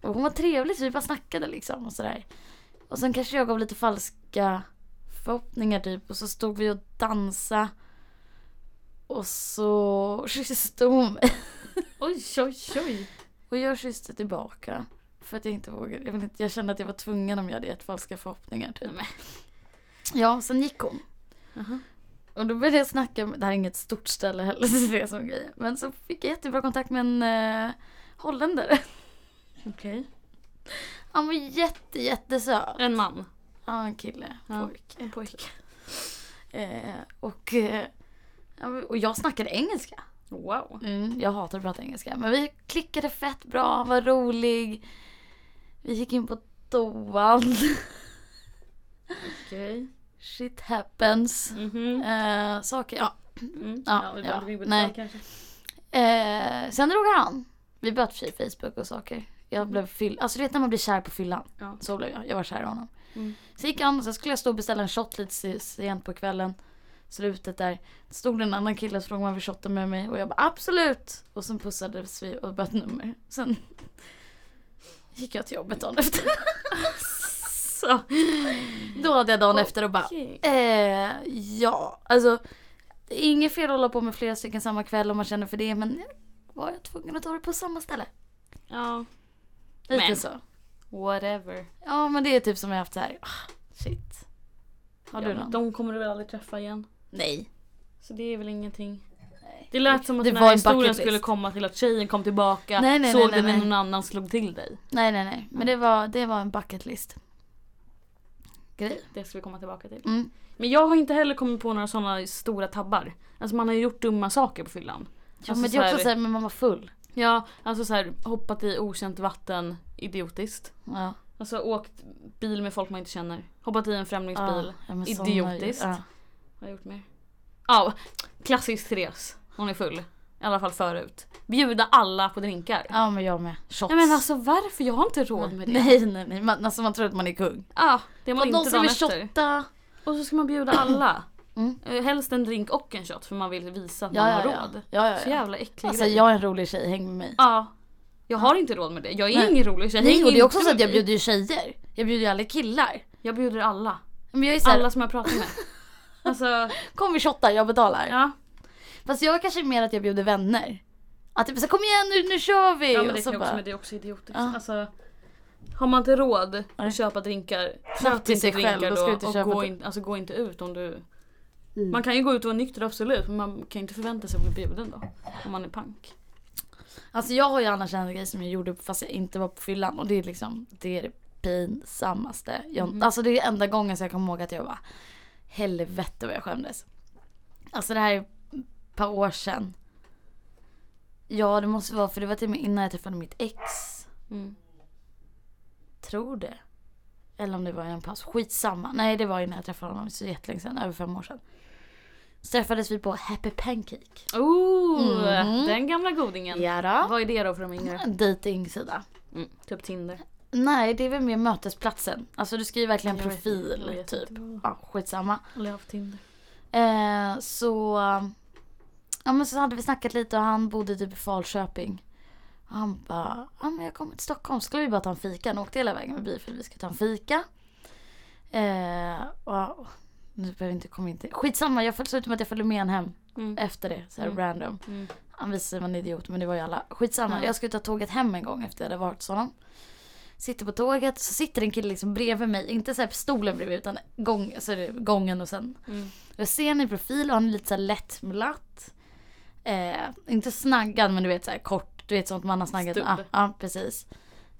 Speaker 2: och hon var trevlig så vi bara snackade liksom och sådär. Och sen kanske jag gav lite falska förhoppningar typ och så stod vi och dansade. Och så kysste hon mig.
Speaker 1: Oj, oj, oj.
Speaker 2: Och jag kysste tillbaka. För att jag inte vågade. Jag, vet inte, jag kände att jag var tvungen om jag hade gett falska förhoppningar typ. Ja, sen gick hon.
Speaker 1: Jaha.
Speaker 2: Och då började jag snacka, med, det här är inget stort ställe heller, (laughs) så det är som grej. Men så fick jag jättebra kontakt med en eh, holländare.
Speaker 1: Okej.
Speaker 2: Han var jätte, jättesöt.
Speaker 1: En man.
Speaker 2: Ja, en kille.
Speaker 1: Ja.
Speaker 2: Pojke. Pojke. Eh, och, eh, ja, men- och jag snackade engelska.
Speaker 1: Wow.
Speaker 2: Mm, jag hatar att prata engelska. Men vi klickade fett bra, han var rolig. Vi gick in på toan. (laughs)
Speaker 1: Okej.
Speaker 2: Shit happens.
Speaker 1: Mhm.
Speaker 2: Eh, saker, ja.
Speaker 1: Mm.
Speaker 2: Ja,
Speaker 1: vi behöver
Speaker 2: ja,
Speaker 1: inte gå in på
Speaker 2: nej.
Speaker 1: det kanske.
Speaker 2: Eh, sen drog han. Vi började i och för sig Facebook och saker. Jag blev fyll... Alltså du vet när man blir kär på fyllan.
Speaker 1: Ja.
Speaker 2: Så blev jag. Jag var kär i honom.
Speaker 1: Mm.
Speaker 2: Så gick han och sen skulle jag stå och beställa en shot lite se- sent på kvällen. Slutet där. Så stod det en annan kille och frågade om han vill shotta med mig. Och jag bara absolut. Och sen pussades vi och böt nummer. Sen gick jag till jobbet dagen efter. (laughs)
Speaker 1: Så.
Speaker 2: Då hade jag dagen efter och bara Eh, ja, alltså det är inget fel att hålla på med flera stycken samma kväll om man känner för det men var jag tvungen att ta det på samma ställe?
Speaker 1: Ja.
Speaker 2: Lite
Speaker 1: Men.
Speaker 2: så.
Speaker 1: Whatever.
Speaker 2: Ja men det är typ som jag haft så här. ah, shit. Har
Speaker 1: Ja,
Speaker 2: du
Speaker 1: men
Speaker 2: någon?
Speaker 1: de kommer du väl aldrig träffa igen.
Speaker 2: Nej.
Speaker 1: Så det är väl ingenting. Det lät som att
Speaker 2: Det
Speaker 1: den
Speaker 2: var
Speaker 1: här
Speaker 2: en
Speaker 1: historien
Speaker 2: bucket
Speaker 1: skulle
Speaker 2: list.
Speaker 1: komma till att tjejen kom tillbaka,
Speaker 2: Nej, nej,
Speaker 1: såg
Speaker 2: nej,
Speaker 1: dig
Speaker 2: nej,
Speaker 1: men
Speaker 2: nej.
Speaker 1: någon annan slog till dig.
Speaker 2: Nej nej nej. Men det var, det var en bucket list. Grej.
Speaker 1: Det ska vi komma tillbaka till.
Speaker 2: Mm.
Speaker 1: Men jag har inte heller kommit på några sådana stora tabbar. Alltså man har ju gjort dumma saker på fyllan.
Speaker 2: Ja
Speaker 1: Alltså
Speaker 2: men det är också
Speaker 1: här-
Speaker 2: såhär, men man var full.
Speaker 1: Ja, alltså såhär hoppat i okänt vatten, idiotiskt.
Speaker 2: Ja.
Speaker 1: Alltså åkt bil med folk man inte känner. Hoppat i en främlingsbil.
Speaker 2: Ja, men såna-
Speaker 1: Idiotiskt.
Speaker 2: Ja.
Speaker 1: Vad har jag gjort mer? Ja, klassisk Therese. Hon är full. I alla fall förut. Bjuda alla på drinkar.
Speaker 2: ja men jag med. Shots.
Speaker 1: Nej men alltså varför? Jag har inte råd med det.
Speaker 2: Nej nej nej. Man, alltså man tror att man är kung.
Speaker 1: Ja, det är man
Speaker 2: Någon
Speaker 1: inte
Speaker 2: som
Speaker 1: dagen
Speaker 2: vill
Speaker 1: efter.
Speaker 2: shotta.
Speaker 1: Och så ska man bjuda alla.
Speaker 2: (clears throat) Mm.
Speaker 1: Eh, Helst en drink och en shot för man vill visa att
Speaker 2: Ja,
Speaker 1: man
Speaker 2: ja,
Speaker 1: har
Speaker 2: ja.
Speaker 1: råd.
Speaker 2: Ja, ja,
Speaker 1: Så
Speaker 2: ja.
Speaker 1: jävla äcklig
Speaker 2: Alltså
Speaker 1: grej.
Speaker 2: jag är en rolig tjej, häng med mig.
Speaker 1: Ja. Jag har inte råd med det. Jag är
Speaker 2: Nej.
Speaker 1: ingen rolig tjej.
Speaker 2: Nej
Speaker 1: Häng
Speaker 2: och det
Speaker 1: inte
Speaker 2: är också så
Speaker 1: med
Speaker 2: att jag
Speaker 1: mig.
Speaker 2: bjuder ju tjejer. Jag bjuder ju aldrig killar.
Speaker 1: Jag bjuder alla.
Speaker 2: Men jag är såhär,
Speaker 1: Alla som jag pratar
Speaker 2: (laughs)
Speaker 1: med. Alltså,
Speaker 2: kom vi shottar, jag betalar.
Speaker 1: ja.
Speaker 2: Fast jag kanske är mer att jag bjuder vänner. Att typ så kom igen nu, nu kör vi!
Speaker 1: ja men
Speaker 2: Och
Speaker 1: det,
Speaker 2: så
Speaker 1: kan också,
Speaker 2: bara,
Speaker 1: men det är också idiotiskt.
Speaker 2: Ja.
Speaker 1: Alltså, har man inte råd
Speaker 2: Nej.
Speaker 1: att köpa drinkar,
Speaker 2: Knappt
Speaker 1: köp
Speaker 2: till
Speaker 1: inte
Speaker 2: sig själv,
Speaker 1: drinkar
Speaker 2: då ska
Speaker 1: då.
Speaker 2: du inte
Speaker 1: och
Speaker 2: köpa
Speaker 1: gå,
Speaker 2: till- Mm.
Speaker 1: in, alltså, gå inte ut om du... Man kan ju gå ut och vara nykter absolut men man kan ju inte förvänta sig att bli bjuden då. Om man är pank.
Speaker 2: Alltså jag har ju annars en grej som jag gjorde fast jag inte var på fyllan och det är liksom det, är det pinsammaste. Jag,
Speaker 1: Mm.
Speaker 2: Alltså det är enda gången som jag kommer ihåg att jag bara helvete vad jag skämdes. Alltså det här är par år sedan. Ja, det måste vara för det var till och med innan jag träffade mitt ex.
Speaker 1: Mm.
Speaker 2: Tror det. Eller om det var i en paus. Skitsamma. Nej, det var innan jag träffade honom. Så jättelänge sedan. Över fem år sedan. Så träffades vi på Happy Pancake.
Speaker 1: Oh,
Speaker 2: Mm.
Speaker 1: den gamla godingen.
Speaker 2: då.
Speaker 1: Vad är det då för de yngre?
Speaker 2: Dejtingsida.
Speaker 1: Mm. Typ Tinder.
Speaker 2: Nej, det är väl mer mötesplatsen. Alltså du skriver verkligen
Speaker 1: Jag vet inte,
Speaker 2: profil,
Speaker 1: jag vet
Speaker 2: typ.
Speaker 1: inte vad-
Speaker 2: Ja, skitsamma.
Speaker 1: Aldrig haft Tinder.
Speaker 2: Eh, så... Ja men så hade vi snackat lite och han bodde typ i Falköping. Och han bara, ja men jag kommer till Stockholm, skulle vi bara ta en fika? Han åkte hela vägen med bil för vi ska ta en fika. Eh, och, nu behöver jag inte komma in till... Skitsamma, jag följde så ut med att jag följde med honom hem
Speaker 1: Mm.
Speaker 2: efter det. Så här
Speaker 1: Mm.
Speaker 2: random.
Speaker 1: Mm.
Speaker 2: Han visade sig vara en idiot men det var ju alla. Skitsamma,
Speaker 1: Ja.
Speaker 2: jag skulle ta tåget hem en gång efter jag hade varit hos honom. Sitter på tåget, så sitter en kille liksom bredvid mig. Inte så här på stolen bredvid utan gång, så är det gången och sen
Speaker 1: Mm.
Speaker 2: jag ser henne i profil och han är lite så här lättmulatt. Eh, inte snaggad men du vet så här kort, du vet sånt man har snaggat.
Speaker 1: Stubb.
Speaker 2: Ja, ja, precis.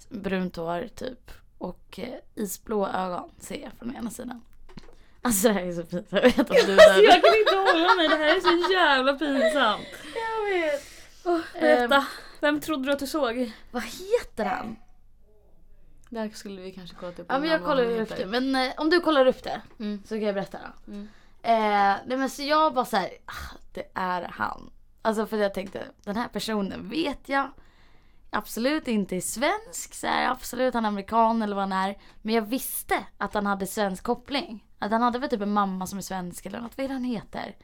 Speaker 2: Brunt hår typ. Och eh, isblå ögon ser jag från ena sidan. Alltså det här är så fint, jag vet
Speaker 1: (laughs)
Speaker 2: att du är
Speaker 1: Alltså, jag kan inte hålla mig, det här är så jävla pinsamt.
Speaker 2: Jag vet.
Speaker 1: Berätta, vem trodde du att du såg?
Speaker 2: Ehm, Vad heter han?
Speaker 1: Där skulle vi kanske kolla upp.
Speaker 2: Ja men
Speaker 1: innan
Speaker 2: jag
Speaker 1: vad
Speaker 2: kollar
Speaker 1: han
Speaker 2: upp
Speaker 1: heter.
Speaker 2: det. Men eh, om du kollar upp det
Speaker 1: Mm.
Speaker 2: så kan jag berätta då.
Speaker 1: Mm.
Speaker 2: Eh, nej men så jag bara såhär, ah, det är han. Alltså för jag tänkte, den här personen vet jag. Absolut inte är svensk, så här, absolut han är amerikan eller vad han är. Men jag visste att han hade svensk koppling. Att han hade väl typ en mamma som är svensk eller något, vad är det han heter?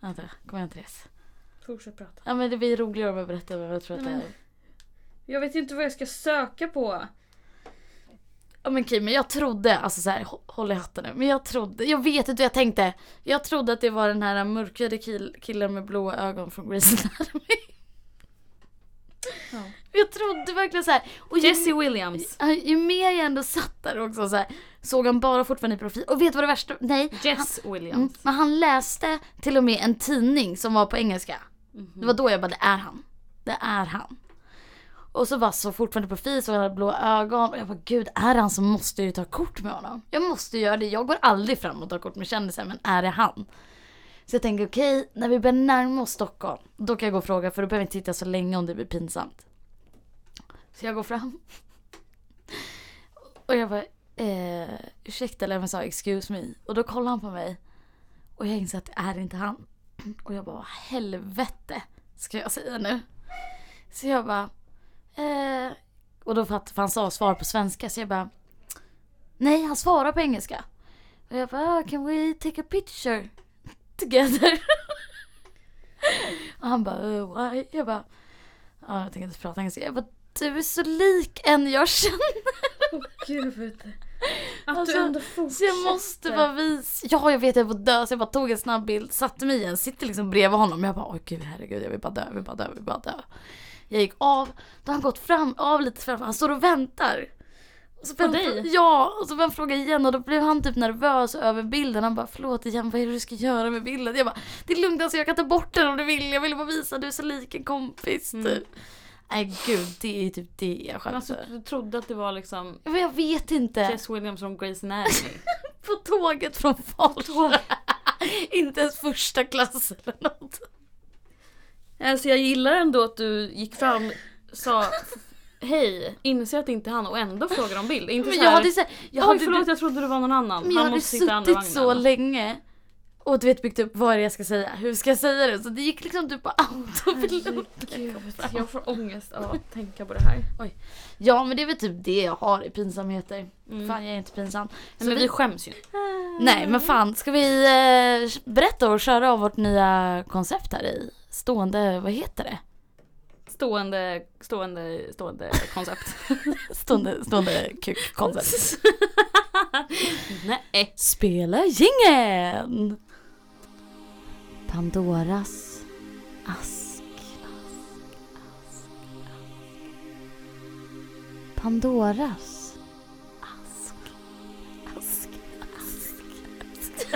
Speaker 2: Vänta, kommer jag inte res.
Speaker 1: Fortsätt prata.
Speaker 2: Ja men det blir roligare om jag berättar vad jag tror att det
Speaker 1: Nej,
Speaker 2: är.
Speaker 1: men- Jag vet ju inte vad jag ska söka på.
Speaker 2: Ja men okej, men jag trodde, alltså så här, hå- håll i hatten nu. Men jag trodde, jag vet inte vad jag tänkte. Jag trodde att det var den här mörkhyade kill, killen med blåa ögon från Grey's Anatomy.
Speaker 1: Ja.
Speaker 2: Jag trodde verkligen så här. Och ju,
Speaker 1: Jesse Williams.
Speaker 2: ja, ju mer jag ändå satt där också så här, såg han bara fortfarande i profil. Och vet du vad det värsta, nej.
Speaker 1: Jess
Speaker 2: Mm,
Speaker 1: Williams.
Speaker 2: men han läste till och med en tidning som var på engelska.
Speaker 1: Mm. Mhm.
Speaker 2: Det var då jag bara, det är han. Det är han. Och så bara så fortfarande på fis och han hade blå ögon. Och jag bara, gud är han så måste jag ju ta kort med honom. Jag måste göra det. Jag går aldrig fram och tar kort med kändisar men är det han? Så jag tänker okej, när vi börjar närma oss Stockholm. Då kan jag gå och fråga för då behöver jag inte sitta så länge om det blir pinsamt. Så jag går fram. Och jag bara, eh, ursäkta eller jag sa excuse me. Och då kollar han på mig. Och jag inser att det är inte han. Och jag bara, vad helvete ska jag säga nu? Så jag bara, eh. Och då fattade för han sa svar på svenska så jag bara, nej han svarar på engelska. Och jag bara, ah, can we take a picture together? (laughs) och han bara, eh, why? Jag bara, ja jag tänker inte prata engelska. Jag bara, du är så lik en jag känner.
Speaker 1: Gud. Att
Speaker 2: Alltså,
Speaker 1: du ändå fortsätter.
Speaker 2: Så jag måste bara visa. Ja, jag vet jag var dö. Så jag bara tog en snabb bild, satte mig igen, sitter liksom bredvid honom. Jag bara, åh gud herregud, jag vill bara dö, jag vill bara dö, jag vill bara dö. Jag gick av, då har han gått fram, av lite framför, han står och väntar. Och så på
Speaker 1: dig?
Speaker 2: Ja, och så började han fråga igen och då blev han typ nervös över bilden. Han bara, förlåt igen, vad är det du ska göra med bilden? Jag bara, det är lugnt alltså, jag kan ta bort den om du vill. Jag ville bara visa, du är så lik en kompis
Speaker 1: Mm.
Speaker 2: typ. Nej gud, det är typ det jag
Speaker 1: Men alltså,
Speaker 2: skämtar.
Speaker 1: du trodde att det var liksom
Speaker 2: Men jag vet inte.
Speaker 1: Jess Williams från Grey's Anatomy.
Speaker 2: På tåget från Falun. (laughs) inte ens första klass eller något.
Speaker 1: Alltså jag gillar ändå att du gick fram, sa hej, inser att det inte är han och ändå frågar om bild. Inte
Speaker 2: Men
Speaker 1: så
Speaker 2: jag
Speaker 1: här,
Speaker 2: hade, så här, jag
Speaker 1: Oj
Speaker 2: hade, typ-
Speaker 1: förlåt jag trodde det var någon annan.
Speaker 2: men jag
Speaker 1: Han
Speaker 2: hade
Speaker 1: måste sitta i andra
Speaker 2: suttit så
Speaker 1: vagnen.
Speaker 2: länge och du vet byggt upp vad är det jag ska säga, hur ska jag säga det? Så det gick liksom typ på autopilot.
Speaker 1: Herregud, jag får ångest av att tänka på det här.
Speaker 2: (laughs) Ja men det är väl typ det jag har i pinsamheter.
Speaker 1: Mm.
Speaker 2: Fan jag är inte pinsam. Så
Speaker 1: Men vi
Speaker 2: vi,
Speaker 1: skäms ju.
Speaker 2: nej men fan ska vi eh, berätta och köra av vårt nya koncept här i stående, vad heter det?
Speaker 1: Stående, stående, stående koncept.
Speaker 2: (laughs) Stående, stående kuk-koncept.
Speaker 1: Nej.
Speaker 2: Spela jingeln! Pandoras ask. Pandoras ask. Ask. Ask. ask.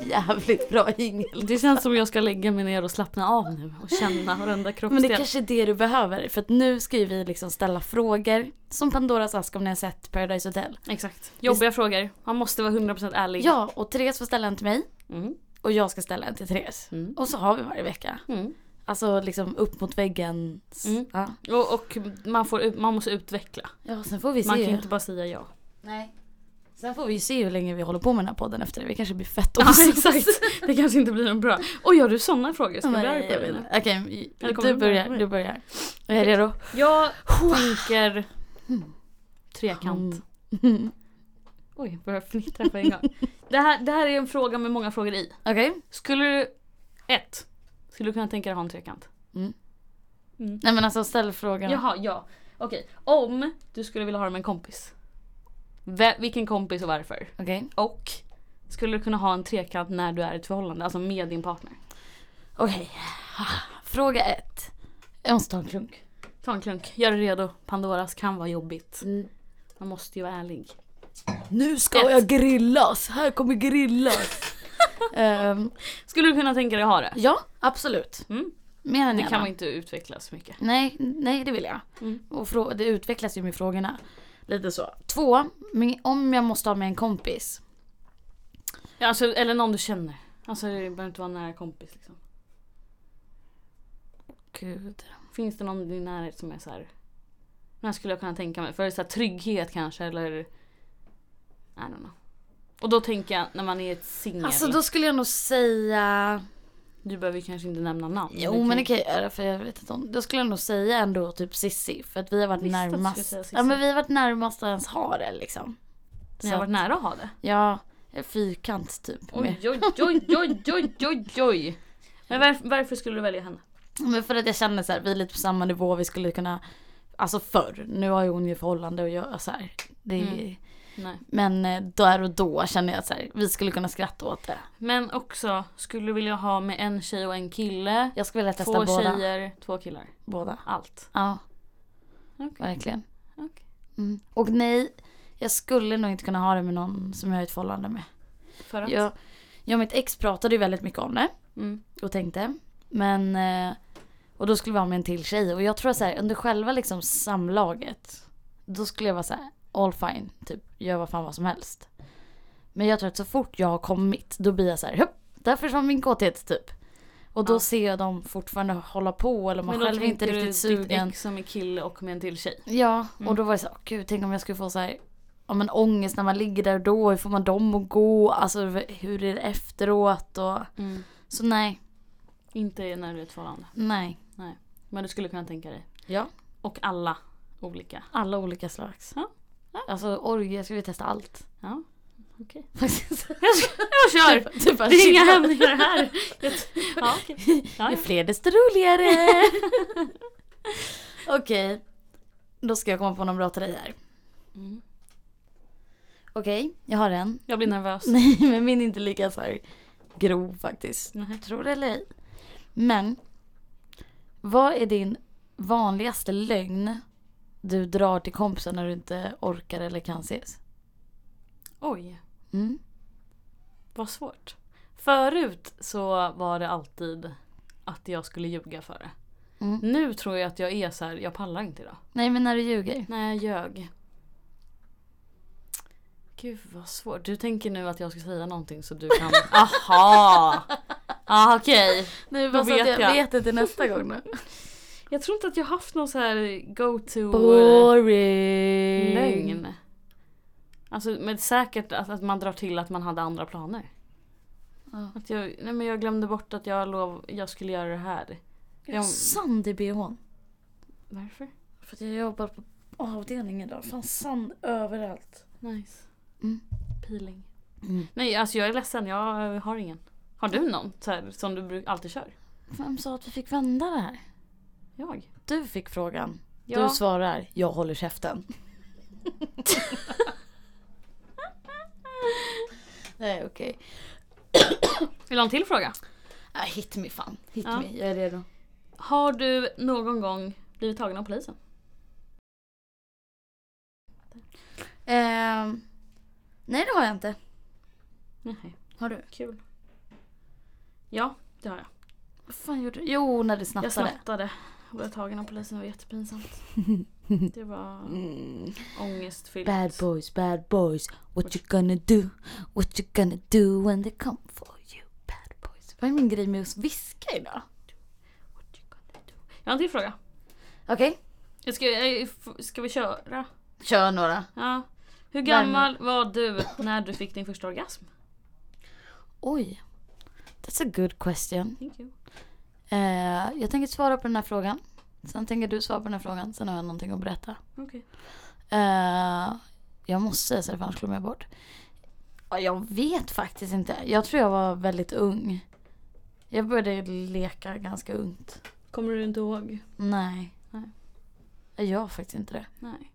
Speaker 2: (laughs) jävligt bra jingel.
Speaker 1: Det känns som jag ska lägga mig ner och slappna av nu och känna varenda
Speaker 2: Men
Speaker 1: kroppsdel.
Speaker 2: det är kanske är det du behöver. För att nu ska ju vi liksom ställa frågor. Som Pandoras ask om ni har sett Paradise Hotel.
Speaker 1: Exakt. Jobbiga frågor. Man måste vara 100% ärlig.
Speaker 2: Ja, och Therese får ställa en till mig.
Speaker 1: Mm.
Speaker 2: Och jag ska ställa en till Therese.
Speaker 1: Mm.
Speaker 2: Och så har vi varje vecka.
Speaker 1: Mm.
Speaker 2: Alltså liksom upp mot väggen. S-
Speaker 1: Mm.
Speaker 2: Ja.
Speaker 1: Och, och man, får, ut- man måste utveckla.
Speaker 2: ja, sen får vi se.
Speaker 1: Man kan inte bara säga ja.
Speaker 2: Nej. Sen får vi ju se hur länge vi håller på med den här podden efter det. Vi kanske blir fett
Speaker 1: (laughs) Ja,
Speaker 2: osams.
Speaker 1: exakt. Det kanske inte blir någon bra. Oj, har du sådana frågor? Ska jag bli arg på dig? nu?
Speaker 2: Okej,
Speaker 1: Eller kommer
Speaker 2: du
Speaker 1: du?
Speaker 2: börjar.
Speaker 1: Kommer
Speaker 2: Du
Speaker 1: du?
Speaker 2: börjar. Jag är redo.
Speaker 1: Jag tänker trekant.
Speaker 2: Mm.
Speaker 1: Hmm. Oj, jag börjar fnittra på en gång. (laughs) Det här, det här är en fråga med många frågor i.
Speaker 2: (laughs) Okej.
Speaker 1: Skulle du... Ett. Skulle du kunna tänka dig att ha en trekant? Mm.
Speaker 2: Nej men alltså ställ frågan.
Speaker 1: Jaha, Mm. ja. Okej. Om du skulle vilja ha det med en kompis. Ve- vilken kompis och varför?
Speaker 2: Okej.
Speaker 1: Och skulle du kunna ha en trekant när du är i ett förhållande? Alltså med din partner.
Speaker 2: Okej. Ah, Fråga ett. Jag måste ta en klunk.
Speaker 1: Ta en klunk. Gör dig redo. Pandoras kan vara jobbigt.
Speaker 2: Mm.
Speaker 1: Man måste ju vara ärlig.
Speaker 2: Nu ska
Speaker 1: Ett.
Speaker 2: jag grillas. Här kommer (laughs) grillas. Ehm,
Speaker 1: Skulle du kunna tänka dig att ha det?
Speaker 2: ja, absolut.
Speaker 1: Mm.
Speaker 2: Mer än
Speaker 1: Det
Speaker 2: gärna.
Speaker 1: kan man inte utveckla så mycket.
Speaker 2: Nej, nej det vill jag.
Speaker 1: Mm.
Speaker 2: Och frå- det utvecklas ju med frågorna. Lite så. Två, men om jag måste ha med en kompis.
Speaker 1: Ja, alltså, eller någon du känner. Alltså det behöver inte vara en nära kompis liksom.
Speaker 2: Gud.
Speaker 1: Finns det någon i din närhet som är så här? Den här skulle jag kunna tänka mig. För det är så här trygghet kanske eller... I don't know. Och då tänker jag när man är ett singel.
Speaker 2: Alltså då skulle jag nog säga...
Speaker 1: Du behöver kanske inte nämna namn.
Speaker 2: Jo men det kan jag göra för jag vet inte om... Då skulle jag nog säga ändå typ Sissi. För att vi har varit
Speaker 1: Visste att du skulle
Speaker 2: närmast.
Speaker 1: säga Sissi.
Speaker 2: Ja men vi har varit närmast att ens ha det liksom.
Speaker 1: Ni har varit nära att ha det.
Speaker 2: Ja, en fyrkant typ.
Speaker 1: Oj, oj, oj, oj, oj, oj, oj. Men varför, varför skulle du välja henne?
Speaker 2: Men för att jag känner så här, vi är lite på samma nivå, vi skulle kunna, alltså förr, nu har ju hon ju förhållande och jag så här. Det är,
Speaker 1: Mm. Nej.
Speaker 2: Men eh, där och då känner jag att så här, vi skulle kunna skratta åt det.
Speaker 1: Men också, skulle du vilja ha med en tjej och en kille?
Speaker 2: Jag skulle vilja testa
Speaker 1: Två
Speaker 2: båda.
Speaker 1: tjejer, två killar.
Speaker 2: Båda.
Speaker 1: Allt.
Speaker 2: Ja,
Speaker 1: Okej.
Speaker 2: verkligen.
Speaker 1: Okej.
Speaker 2: Mm. Och nej, jag skulle nog inte kunna ha det med någon som jag har ett förhållande med.
Speaker 1: För att?
Speaker 2: Jag, jag och mitt ex pratade ju väldigt mycket om det.
Speaker 1: Mm.
Speaker 2: och tänkte. Men, eh, och då skulle vi ha med en till tjej och jag tror så här under själva liksom samlaget då skulle jag vara så här all fine, typ gör vad fan vad som helst. Men jag tror att så fort jag har kommit då blir jag så här hopp, där försvann min kåthet typ. Och då
Speaker 1: Ja.
Speaker 2: ser jag dem fortfarande hålla på eller man
Speaker 1: Men då
Speaker 2: själv är inte
Speaker 1: tänker du
Speaker 2: riktigt
Speaker 1: ditt
Speaker 2: sugen.
Speaker 1: ex Mm. som är kille och med en till tjej.
Speaker 2: Ja, och då var det så här, "Åh, gud tänk om jag skulle få så här Ja men ångest när man ligger där och då, hur får man dem att gå, alltså hur är det efteråt och
Speaker 1: Mm.
Speaker 2: så nej,
Speaker 1: Inte när du är i ett förhållande.
Speaker 2: nej.
Speaker 1: Nej. Men du skulle kunna tänka dig.
Speaker 2: Ja.
Speaker 1: Och alla olika.
Speaker 2: Alla olika slags.
Speaker 1: Ja.
Speaker 2: Alltså orgie, ska vi testa allt?
Speaker 1: Ja.
Speaker 2: (laughs) Faktiskt.
Speaker 1: (laughs) (laughs) Jag kör!
Speaker 2: Typ, typ bara,
Speaker 1: Det är inga
Speaker 2: (laughs) chilla.
Speaker 1: hämningar här. Ja, okej. Ja,
Speaker 2: Ju
Speaker 1: ja.
Speaker 2: fler
Speaker 1: (laughs)
Speaker 2: desto roligare. Okej. Då ska jag komma på någon bra till dig här.
Speaker 1: Mm.
Speaker 2: Okej, jag har en.
Speaker 1: Jag blir nervös.
Speaker 2: Nej men min är inte lika så här grov faktiskt.
Speaker 1: Nej.
Speaker 2: Tror det eller ej. Men. Vad är din vanligaste lögn du drar till kompisar när du inte orkar eller kan ses?
Speaker 1: Oj,
Speaker 2: Mm.
Speaker 1: vad svårt. Förut så var det alltid att jag skulle ljuga för det.
Speaker 2: Mm.
Speaker 1: Nu tror jag att jag är så här, jag pallar inte idag.
Speaker 2: Nej men när du ljuger.
Speaker 1: Nej, jag ljög. Gud vad svårt. Du tänker nu att jag ska säga någonting så du kan... Aha! Ah, okej.
Speaker 2: Nu
Speaker 1: bara så att jag
Speaker 2: vet det till nästa gång (laughs) då.
Speaker 1: Jag tror inte att jag haft någon så här go-to-lögn.
Speaker 2: Boring.
Speaker 1: Alltså men säkert att, att man drar till att man hade andra planer.
Speaker 2: Ja.
Speaker 1: Att jag, nej men jag glömde bort att jag, lov, jag skulle göra det här. Jag,
Speaker 2: Sand i bhn.
Speaker 1: varför?
Speaker 2: För att jag jobbar på avdelningen idag. Fan sand överallt.
Speaker 1: Nice.
Speaker 2: Mm.
Speaker 1: Peeling.
Speaker 2: Mm.
Speaker 1: Nej alltså jag är ledsen, jag har ingen. Har du någon så här, som du bru- alltid kör?
Speaker 2: Vem sa att vi fick vända det här?
Speaker 1: Jag?
Speaker 2: Du fick frågan.
Speaker 1: Ja.
Speaker 2: Du svarar, jag håller käften. (laughs) Nej okej.
Speaker 1: Vill du ha en till fråga?
Speaker 2: Ah, hit me fan. Hit
Speaker 1: Ja.
Speaker 2: me, jag är redo.
Speaker 1: Har du någon gång blivit tagen av polisen?
Speaker 2: Ehm, nej det har jag inte.
Speaker 1: Nej,
Speaker 2: Har du?
Speaker 1: kul. Ja, det har jag.
Speaker 2: Vad fan gjorde du? Jo, när du
Speaker 1: Jag
Speaker 2: snattade.
Speaker 1: snattade. Och blev tagen av polisen, det var
Speaker 2: (laughs)
Speaker 1: jättepinsamt. Det var
Speaker 2: Mm.
Speaker 1: ångestfyllt.
Speaker 2: Bad boys, bad boys. What you gonna do? What you gonna do when they come for you? Bad boys. Vad är min grej med att viska idag?
Speaker 1: Jag har en till fråga.
Speaker 2: Okej,
Speaker 1: Jag Ska, jag- f- ska vi köra?
Speaker 2: kör några.
Speaker 1: Ja. Hur
Speaker 2: Värme.
Speaker 1: gammal var du när du fick din första orgasm?
Speaker 2: Oj. That's a good question.
Speaker 1: Thank you.
Speaker 2: Eh, jag tänker svara på den här frågan. Sen tänker du svara på den här frågan. Sen har jag någonting att berätta.
Speaker 1: Okej.
Speaker 2: Eh, jag måste säga så det, för annars glömmer jag bort. Ja, Jag vet faktiskt inte. Jag tror jag var väldigt ung. Jag började leka ganska ungt.
Speaker 1: Kommer du inte ihåg?
Speaker 2: Nej.
Speaker 1: Nej.
Speaker 2: Jag gör faktiskt inte det.
Speaker 1: Nej.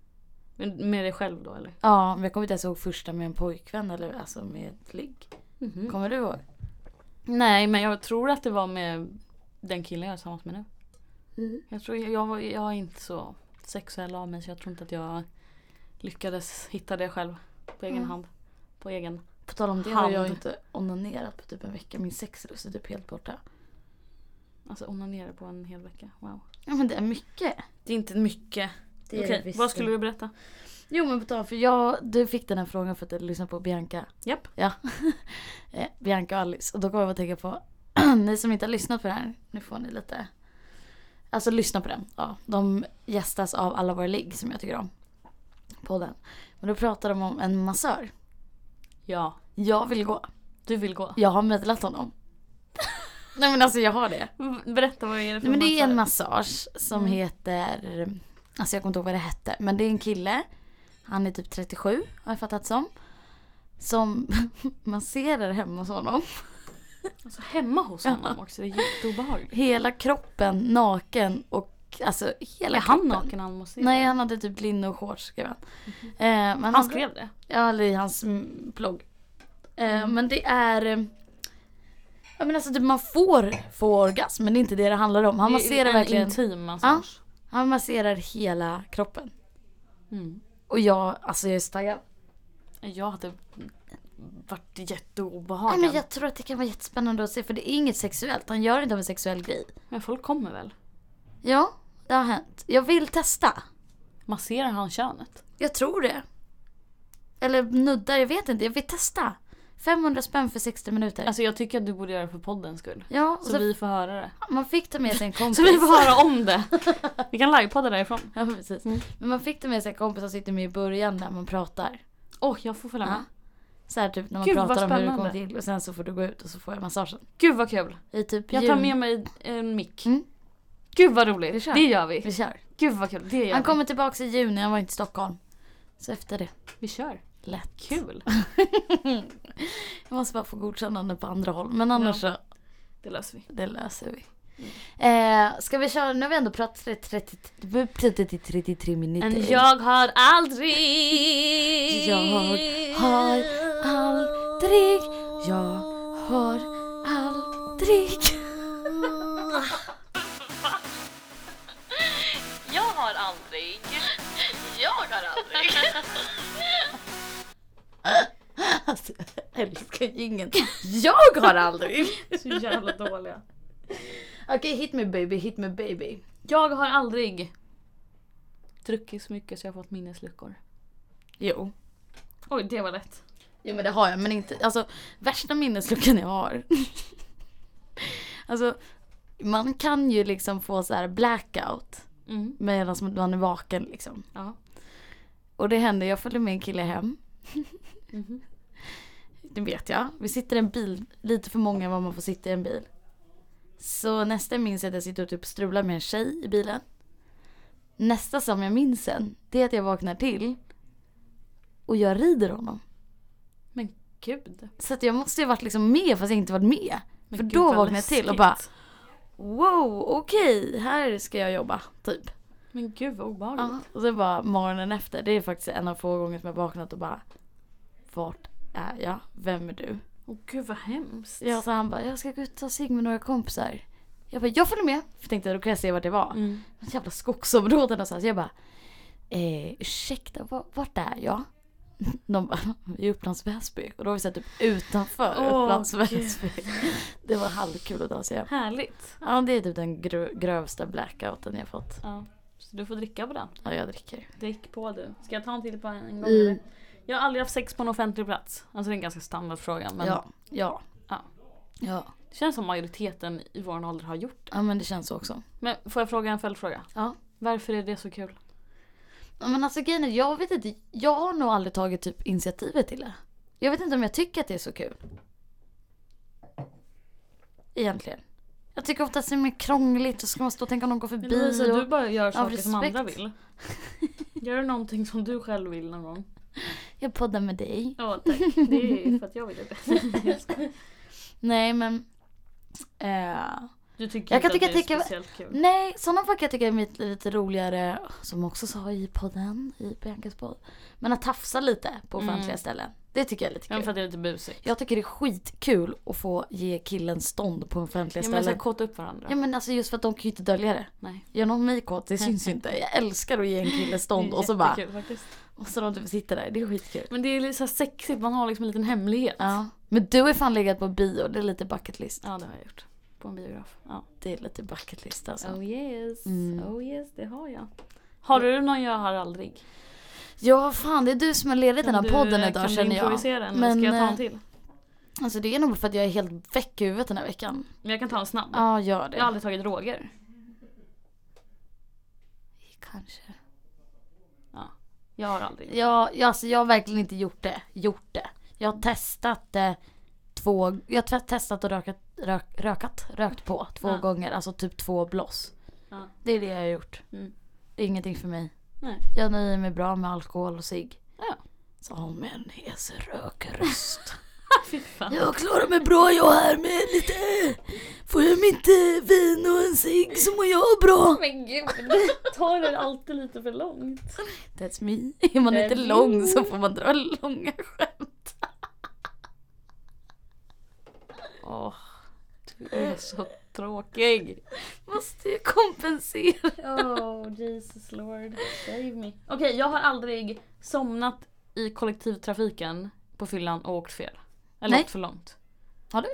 Speaker 1: Men med dig själv då eller?
Speaker 2: Ja, men jag kommer inte ens ihåg första med en pojkvän eller alltså med ett ligg.
Speaker 1: Mhm.
Speaker 2: Kommer du ihåg?
Speaker 1: Nej men jag tror att det var med den killen jag är tillsammans med nu.
Speaker 2: Mm.
Speaker 1: Jag, tror, jag, var- jag är inte så sexuell av mig så jag tror inte att jag lyckades hitta det själv. På egen
Speaker 2: Mm.
Speaker 1: hand. På egen.
Speaker 2: På tal om det har jag
Speaker 1: Hand.
Speaker 2: inte onanerat på typ en vecka. Min sexlust är typ helt borta.
Speaker 1: Alltså onanera på en hel vecka. Wow.
Speaker 2: Ja men det är mycket.
Speaker 1: Det är inte mycket. Okej, vad skulle du berätta?
Speaker 2: Jo men på tal för jag, du fick den här frågan för att du lyssnade på Bianca.
Speaker 1: Japp.
Speaker 2: Ja. (laughs) Eh, Bianca och Alice. Och då kommer jag att tänka på, (clears throat) ni som inte har lyssnat på den här, nu får ni lite. Alltså lyssna på den. Ja, de gästas av Alla våra ligg som jag tycker om. Podden. Men då pratar de om en massör.
Speaker 1: Ja,
Speaker 2: Jag vill gå.
Speaker 1: du vill gå.
Speaker 2: Jag har meddelat honom. (laughs) Nej men alltså jag har det.
Speaker 1: Berätta vad är det för
Speaker 2: Nej, men det är en
Speaker 1: massör?
Speaker 2: massage som
Speaker 1: Mm.
Speaker 2: heter, alltså jag kommer inte ihåg vad det hette, men det är en kille, han är typ 37 har jag fattat som, som (laughs) masserar hemma hos honom.
Speaker 1: Alltså hemma hos honom också, det är jätteobehagligt.
Speaker 2: Hela kroppen naken och alltså hela
Speaker 1: Är han
Speaker 2: kroppen.
Speaker 1: naken han måste
Speaker 2: Nej han hade typ linne och shorts skrev han. Eh, men
Speaker 1: Han skrev det?
Speaker 2: Ja, eller i hans mm, blogg. Eh,
Speaker 1: Mm.
Speaker 2: Men det är... eh, Ja men alltså typ man får få orgasm men det är inte det det handlar om. Han masserar
Speaker 1: en
Speaker 2: verkligen...
Speaker 1: intim massage.
Speaker 2: Han masserar hela kroppen.
Speaker 1: Mm.
Speaker 2: Och jag, alltså jag är så taggad.
Speaker 1: Jag hade varit
Speaker 2: Nej,
Speaker 1: jätteobehagad.
Speaker 2: men
Speaker 1: Men,
Speaker 2: jag tror att det kan vara jättespännande att se för det är inget sexuellt. Han gör det inte av en sexuell grej.
Speaker 1: folk kommer väl?
Speaker 2: Ja, det har hänt. Jag vill testa.
Speaker 1: Masserar han könet?
Speaker 2: Jag tror det. Eller nuddar, jag vet inte. Jag vill testa. 500 spänn för 60 minuter.
Speaker 1: Alltså jag tycker att du borde göra det för poddens skull.
Speaker 2: ja, och
Speaker 1: Så,
Speaker 2: så
Speaker 1: vi får höra det.
Speaker 2: man fick ta med sig en
Speaker 1: (laughs)
Speaker 2: kompis.
Speaker 1: Så vi får höra om det. Vi kan livepodda därifrån.
Speaker 2: Ja, precis.
Speaker 1: Mm.
Speaker 2: Men man fick ta med sig en kompis som sitter med i början när man pratar.
Speaker 1: Åh, jag får följa med.
Speaker 2: Ja. Så här typ när man
Speaker 1: Gud, vad
Speaker 2: pratar om hur det
Speaker 1: spännande.
Speaker 2: kom till och sen så får du gå ut och så får jag massagen.
Speaker 1: Gud vad kul.
Speaker 2: I typ
Speaker 1: Jag tar
Speaker 2: juni.
Speaker 1: med mig en mick.
Speaker 2: Mm.
Speaker 1: Gud vad roligt.
Speaker 2: Vi kör.
Speaker 1: Det gör vi.
Speaker 2: Vi kör.
Speaker 1: Gud vad kul. Det gör
Speaker 2: Han
Speaker 1: vi.
Speaker 2: kommer tillbaka i juni, han var inte i Stockholm. Så efter det,
Speaker 1: Vi kör.
Speaker 2: lätt.
Speaker 1: Kul.
Speaker 2: Mm. (laughs) Jag måste bara få godkännande på andra håll. Men annars så,
Speaker 1: Det löser vi.
Speaker 2: det löser vi.
Speaker 1: Mm.
Speaker 2: Eh, ska vi köra, nu har vi ändå pratat i 30 33, 33 minuter.
Speaker 1: Men jag har aldrig...
Speaker 2: Jag har aldrig,
Speaker 1: (laughs)
Speaker 2: jag har aldrig.
Speaker 1: Jag har aldrig. Jag har aldrig.
Speaker 2: (laughs) Alltså, jag älskar ju ingen. Jag har aldrig.
Speaker 1: Så jävla dåliga.
Speaker 2: Okej, hit me baby, hit me baby.
Speaker 1: Jag har aldrig druckit så mycket så jag har fått minnesluckor.
Speaker 2: Jo.
Speaker 1: Oj, det var lätt.
Speaker 2: Jo men det har jag men inte, alltså värsta minnesluckan jag har. alltså man kan ju liksom få så här blackout
Speaker 1: Mm.
Speaker 2: medan man är vaken liksom.
Speaker 1: Ja.
Speaker 2: Och det hände, jag följde med en kille hem.
Speaker 1: Mhm.
Speaker 2: Det vet jag. Vi sitter i en bil, lite för många vad man får sitta i en bil. Så nästa jag minns är att jag sitter och typ strular med en tjej i bilen. Nästa som jag minns sen, det är att jag vaknar till och jag rider honom.
Speaker 1: Men gud.
Speaker 2: Så att jag måste ju varit liksom med fast jag inte varit med.
Speaker 1: Men
Speaker 2: För
Speaker 1: gud,
Speaker 2: då
Speaker 1: vad
Speaker 2: vaknade jag till och
Speaker 1: läskigt.
Speaker 2: bara wow, okej, här ska jag jobba. Typ.
Speaker 1: Men gud vad obehagligt.
Speaker 2: Ja, Och så bara morgonen efter, det är faktiskt en av få gånger som jag vaknat och bara vart är jag? Vem är du?
Speaker 1: Åh gud vad hemskt.
Speaker 2: Ja, så han bara, jag ska gå ut och ta cigg med några kompisar. Jag bara, jag följer med. För tänkte jag, då kan jag se vart det var.
Speaker 1: Mm.
Speaker 2: Något jävla skogsområde någonstans. Jag (laughs) bara, eh, ursäkta, va- vart är jag? de bara, vi är i Upplands Väsby. Och då har vi sett typ utanför
Speaker 1: Åh,
Speaker 2: Upplands
Speaker 1: gud.
Speaker 2: Väsby. (laughs) Det var halvkul att ta sig hem.
Speaker 1: Härligt.
Speaker 2: Ja, det är typ den grö- grövsta blackouten jag fått.
Speaker 1: Ja. Så du får dricka på den.
Speaker 2: Ja, jag dricker.
Speaker 1: Drick på du. Ska jag ta en till på en gång?
Speaker 2: Mm.
Speaker 1: eller? Jag har aldrig haft sex på en offentlig plats. Alltså det är en ganska standardfråga. Men
Speaker 2: ja, ja.
Speaker 1: Ja.
Speaker 2: Ja.
Speaker 1: det känns som majoriteten i vår ålder har gjort det.
Speaker 2: Ja, men det känns så också.
Speaker 1: Men får jag fråga en följdfråga?
Speaker 2: Ja.
Speaker 1: Varför är det så kul?
Speaker 2: Ja, Men alltså grejen är, jag vet inte. Jag har nog aldrig tagit typ initiativet till det. Jag vet inte om jag tycker att det är så kul. Egentligen. Jag tycker ofta att det är mer krångligt och så ska man stå och tänka om de går förbi.
Speaker 1: Lovisa,
Speaker 2: och...
Speaker 1: du bara gör saker som
Speaker 2: respekt.
Speaker 1: andra (laughs) vill. Gör du någonting som du själv vill någon gång?
Speaker 2: Jag poddar med dig.
Speaker 1: Ja tack. Det är för att jag vill det. (laughs) Jag skojar.
Speaker 2: (laughs) Nej men. Eh,
Speaker 1: Du tycker
Speaker 2: Jag
Speaker 1: inte
Speaker 2: kan
Speaker 1: att
Speaker 2: tycka
Speaker 1: det är
Speaker 2: att det kan-
Speaker 1: speciellt kul?
Speaker 2: nej, sådana folk jag tycker är lite, lite roligare. Som också sa i podden, i Biancas podd. Men att tafsa lite på offentliga
Speaker 1: Mm.
Speaker 2: ställen. Det tycker jag är lite
Speaker 1: Ja,
Speaker 2: kul.
Speaker 1: för att det är lite busigt.
Speaker 2: Jag tycker det är skitkul att få ge killen stånd på offentliga
Speaker 1: Ja, men så
Speaker 2: ställen.
Speaker 1: här, kåta upp varandra.
Speaker 2: Ja men alltså just för att de kan ju inte dölja det.
Speaker 1: Nej.
Speaker 2: Gör någon mig kåt, det syns ju inte. Jag älskar att ge en kille stånd
Speaker 1: Det är
Speaker 2: och så bara,
Speaker 1: jättekul faktiskt.
Speaker 2: och så de typ sitter där, det är skitkul.
Speaker 1: Men det är lite så här sexigt, man har liksom en liten hemlighet.
Speaker 2: Ja. Men du har fan legat på bio, det är lite bucket list.
Speaker 1: Ja, det har jag gjort. På en biograf. Ja.
Speaker 2: Det är lite bucket list alltså.
Speaker 1: Oh yes,
Speaker 2: Mm.
Speaker 1: oh yes, det har jag. Har du någon jag har aldrig?
Speaker 2: Ja fan, det är du som har ledigt den här
Speaker 1: Kan
Speaker 2: podden
Speaker 1: du-
Speaker 2: idag
Speaker 1: Kan du
Speaker 2: känner jag.
Speaker 1: improvisera en
Speaker 2: Men,
Speaker 1: eller ska jag ta
Speaker 2: eh,
Speaker 1: en till?
Speaker 2: Alltså det är nog för att jag är helt väck i huvudet den här veckan.
Speaker 1: Men jag kan ta en snabb.
Speaker 2: Ja, gör
Speaker 1: Jag har
Speaker 2: det.
Speaker 1: aldrig tagit droger.
Speaker 2: Kanske.
Speaker 1: Jag har aldrig.
Speaker 2: Jag, jag, alltså, jag har verkligen inte gjort det. Gjort det. Jag har testat eh, två, jag har testat och rökat, rök, rökat, rökt på två
Speaker 1: Ja.
Speaker 2: gånger. Alltså typ två bloss.
Speaker 1: Ja.
Speaker 2: Det är det jag har gjort.
Speaker 1: Mm.
Speaker 2: Det är ingenting för mig.
Speaker 1: Nej.
Speaker 2: Jag nöjer mig bra med alkohol och cigg.
Speaker 1: Ja.
Speaker 2: Som en hes rökröst.
Speaker 1: Fy fan.
Speaker 2: jag klarar mig bra jag här med lite. Får jag mig inte vin och en cigg så mår jag bra.
Speaker 1: Men gud, tar det alltid lite för långt.
Speaker 2: That's me. Är man
Speaker 1: That's
Speaker 2: inte
Speaker 1: me.
Speaker 2: lång så får man dra långa skämt.
Speaker 1: Åh, du är så tråkig.
Speaker 2: Måste ju kompensera.
Speaker 1: Oh, Jesus Lord, save me. Okej, jag har aldrig somnat i kollektivtrafiken på fyllan och åkt fel. Eller
Speaker 2: Nej.
Speaker 1: åkt för långt.
Speaker 2: Har du?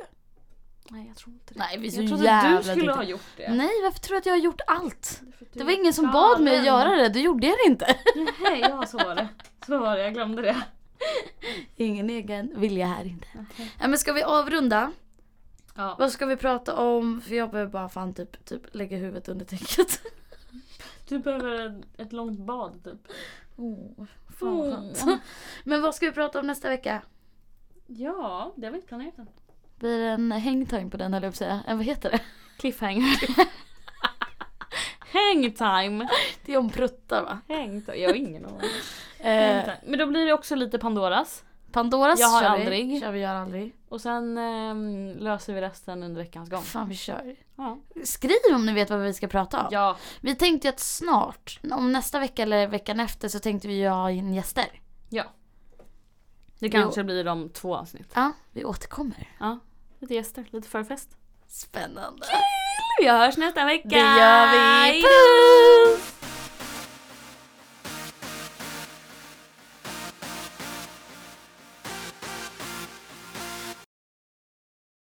Speaker 1: Nej, jag tror inte det.
Speaker 2: Nej vi är så
Speaker 1: Jag trodde
Speaker 2: jävla
Speaker 1: du skulle
Speaker 2: duktiga.
Speaker 1: ha gjort det.
Speaker 2: Nej varför tror du att jag har gjort allt?
Speaker 1: För att du
Speaker 2: Det
Speaker 1: är
Speaker 2: var ingen som bad mig att
Speaker 1: galen.
Speaker 2: göra det, då gjorde jag det inte.
Speaker 1: (laughs) Nej, ja så var det. Så var det, jag glömde det.
Speaker 2: Ingen egen vilja här inte. Ja, men ska vi avrunda?
Speaker 1: Ja.
Speaker 2: Vad ska vi prata om? För jag behöver bara fan typ, typ lägga huvudet under täcket.
Speaker 1: Du behöver ett långt bad typ.
Speaker 2: Oh, fan vad skönt. (laughs) Men vad ska vi prata om nästa vecka?
Speaker 1: Ja, det var inte planerat än.
Speaker 2: Blir det en hangtime på den höll jag på att säga. En vad heter det?
Speaker 1: Cliffhanger. (laughs) Hangtime!
Speaker 2: Det är om pruttar va?
Speaker 1: Hangtime, jag har ingen aning.
Speaker 2: Eh,
Speaker 1: Men då blir det också lite Pandoras.
Speaker 2: Pandoras
Speaker 1: Jag har
Speaker 2: kör vi.
Speaker 1: aldrig.
Speaker 2: Kör vi, gör aldrig.
Speaker 1: Och sen ehm, löser vi resten under veckans gång.
Speaker 2: Fan vi kör.
Speaker 1: Ja.
Speaker 2: Skriv om ni vet vad vi ska prata om.
Speaker 1: ja.
Speaker 2: Vi tänkte ju att snart, om nästa vecka eller veckan efter så tänkte vi ju ha in gäster.
Speaker 1: Det kanske blir om två avsnitt.
Speaker 2: Ja, vi återkommer.
Speaker 1: Ja. Lite gäster, lite förfest.
Speaker 2: Spännande.
Speaker 1: Vi hörs nästa vecka!
Speaker 2: Det gör vi. Puss!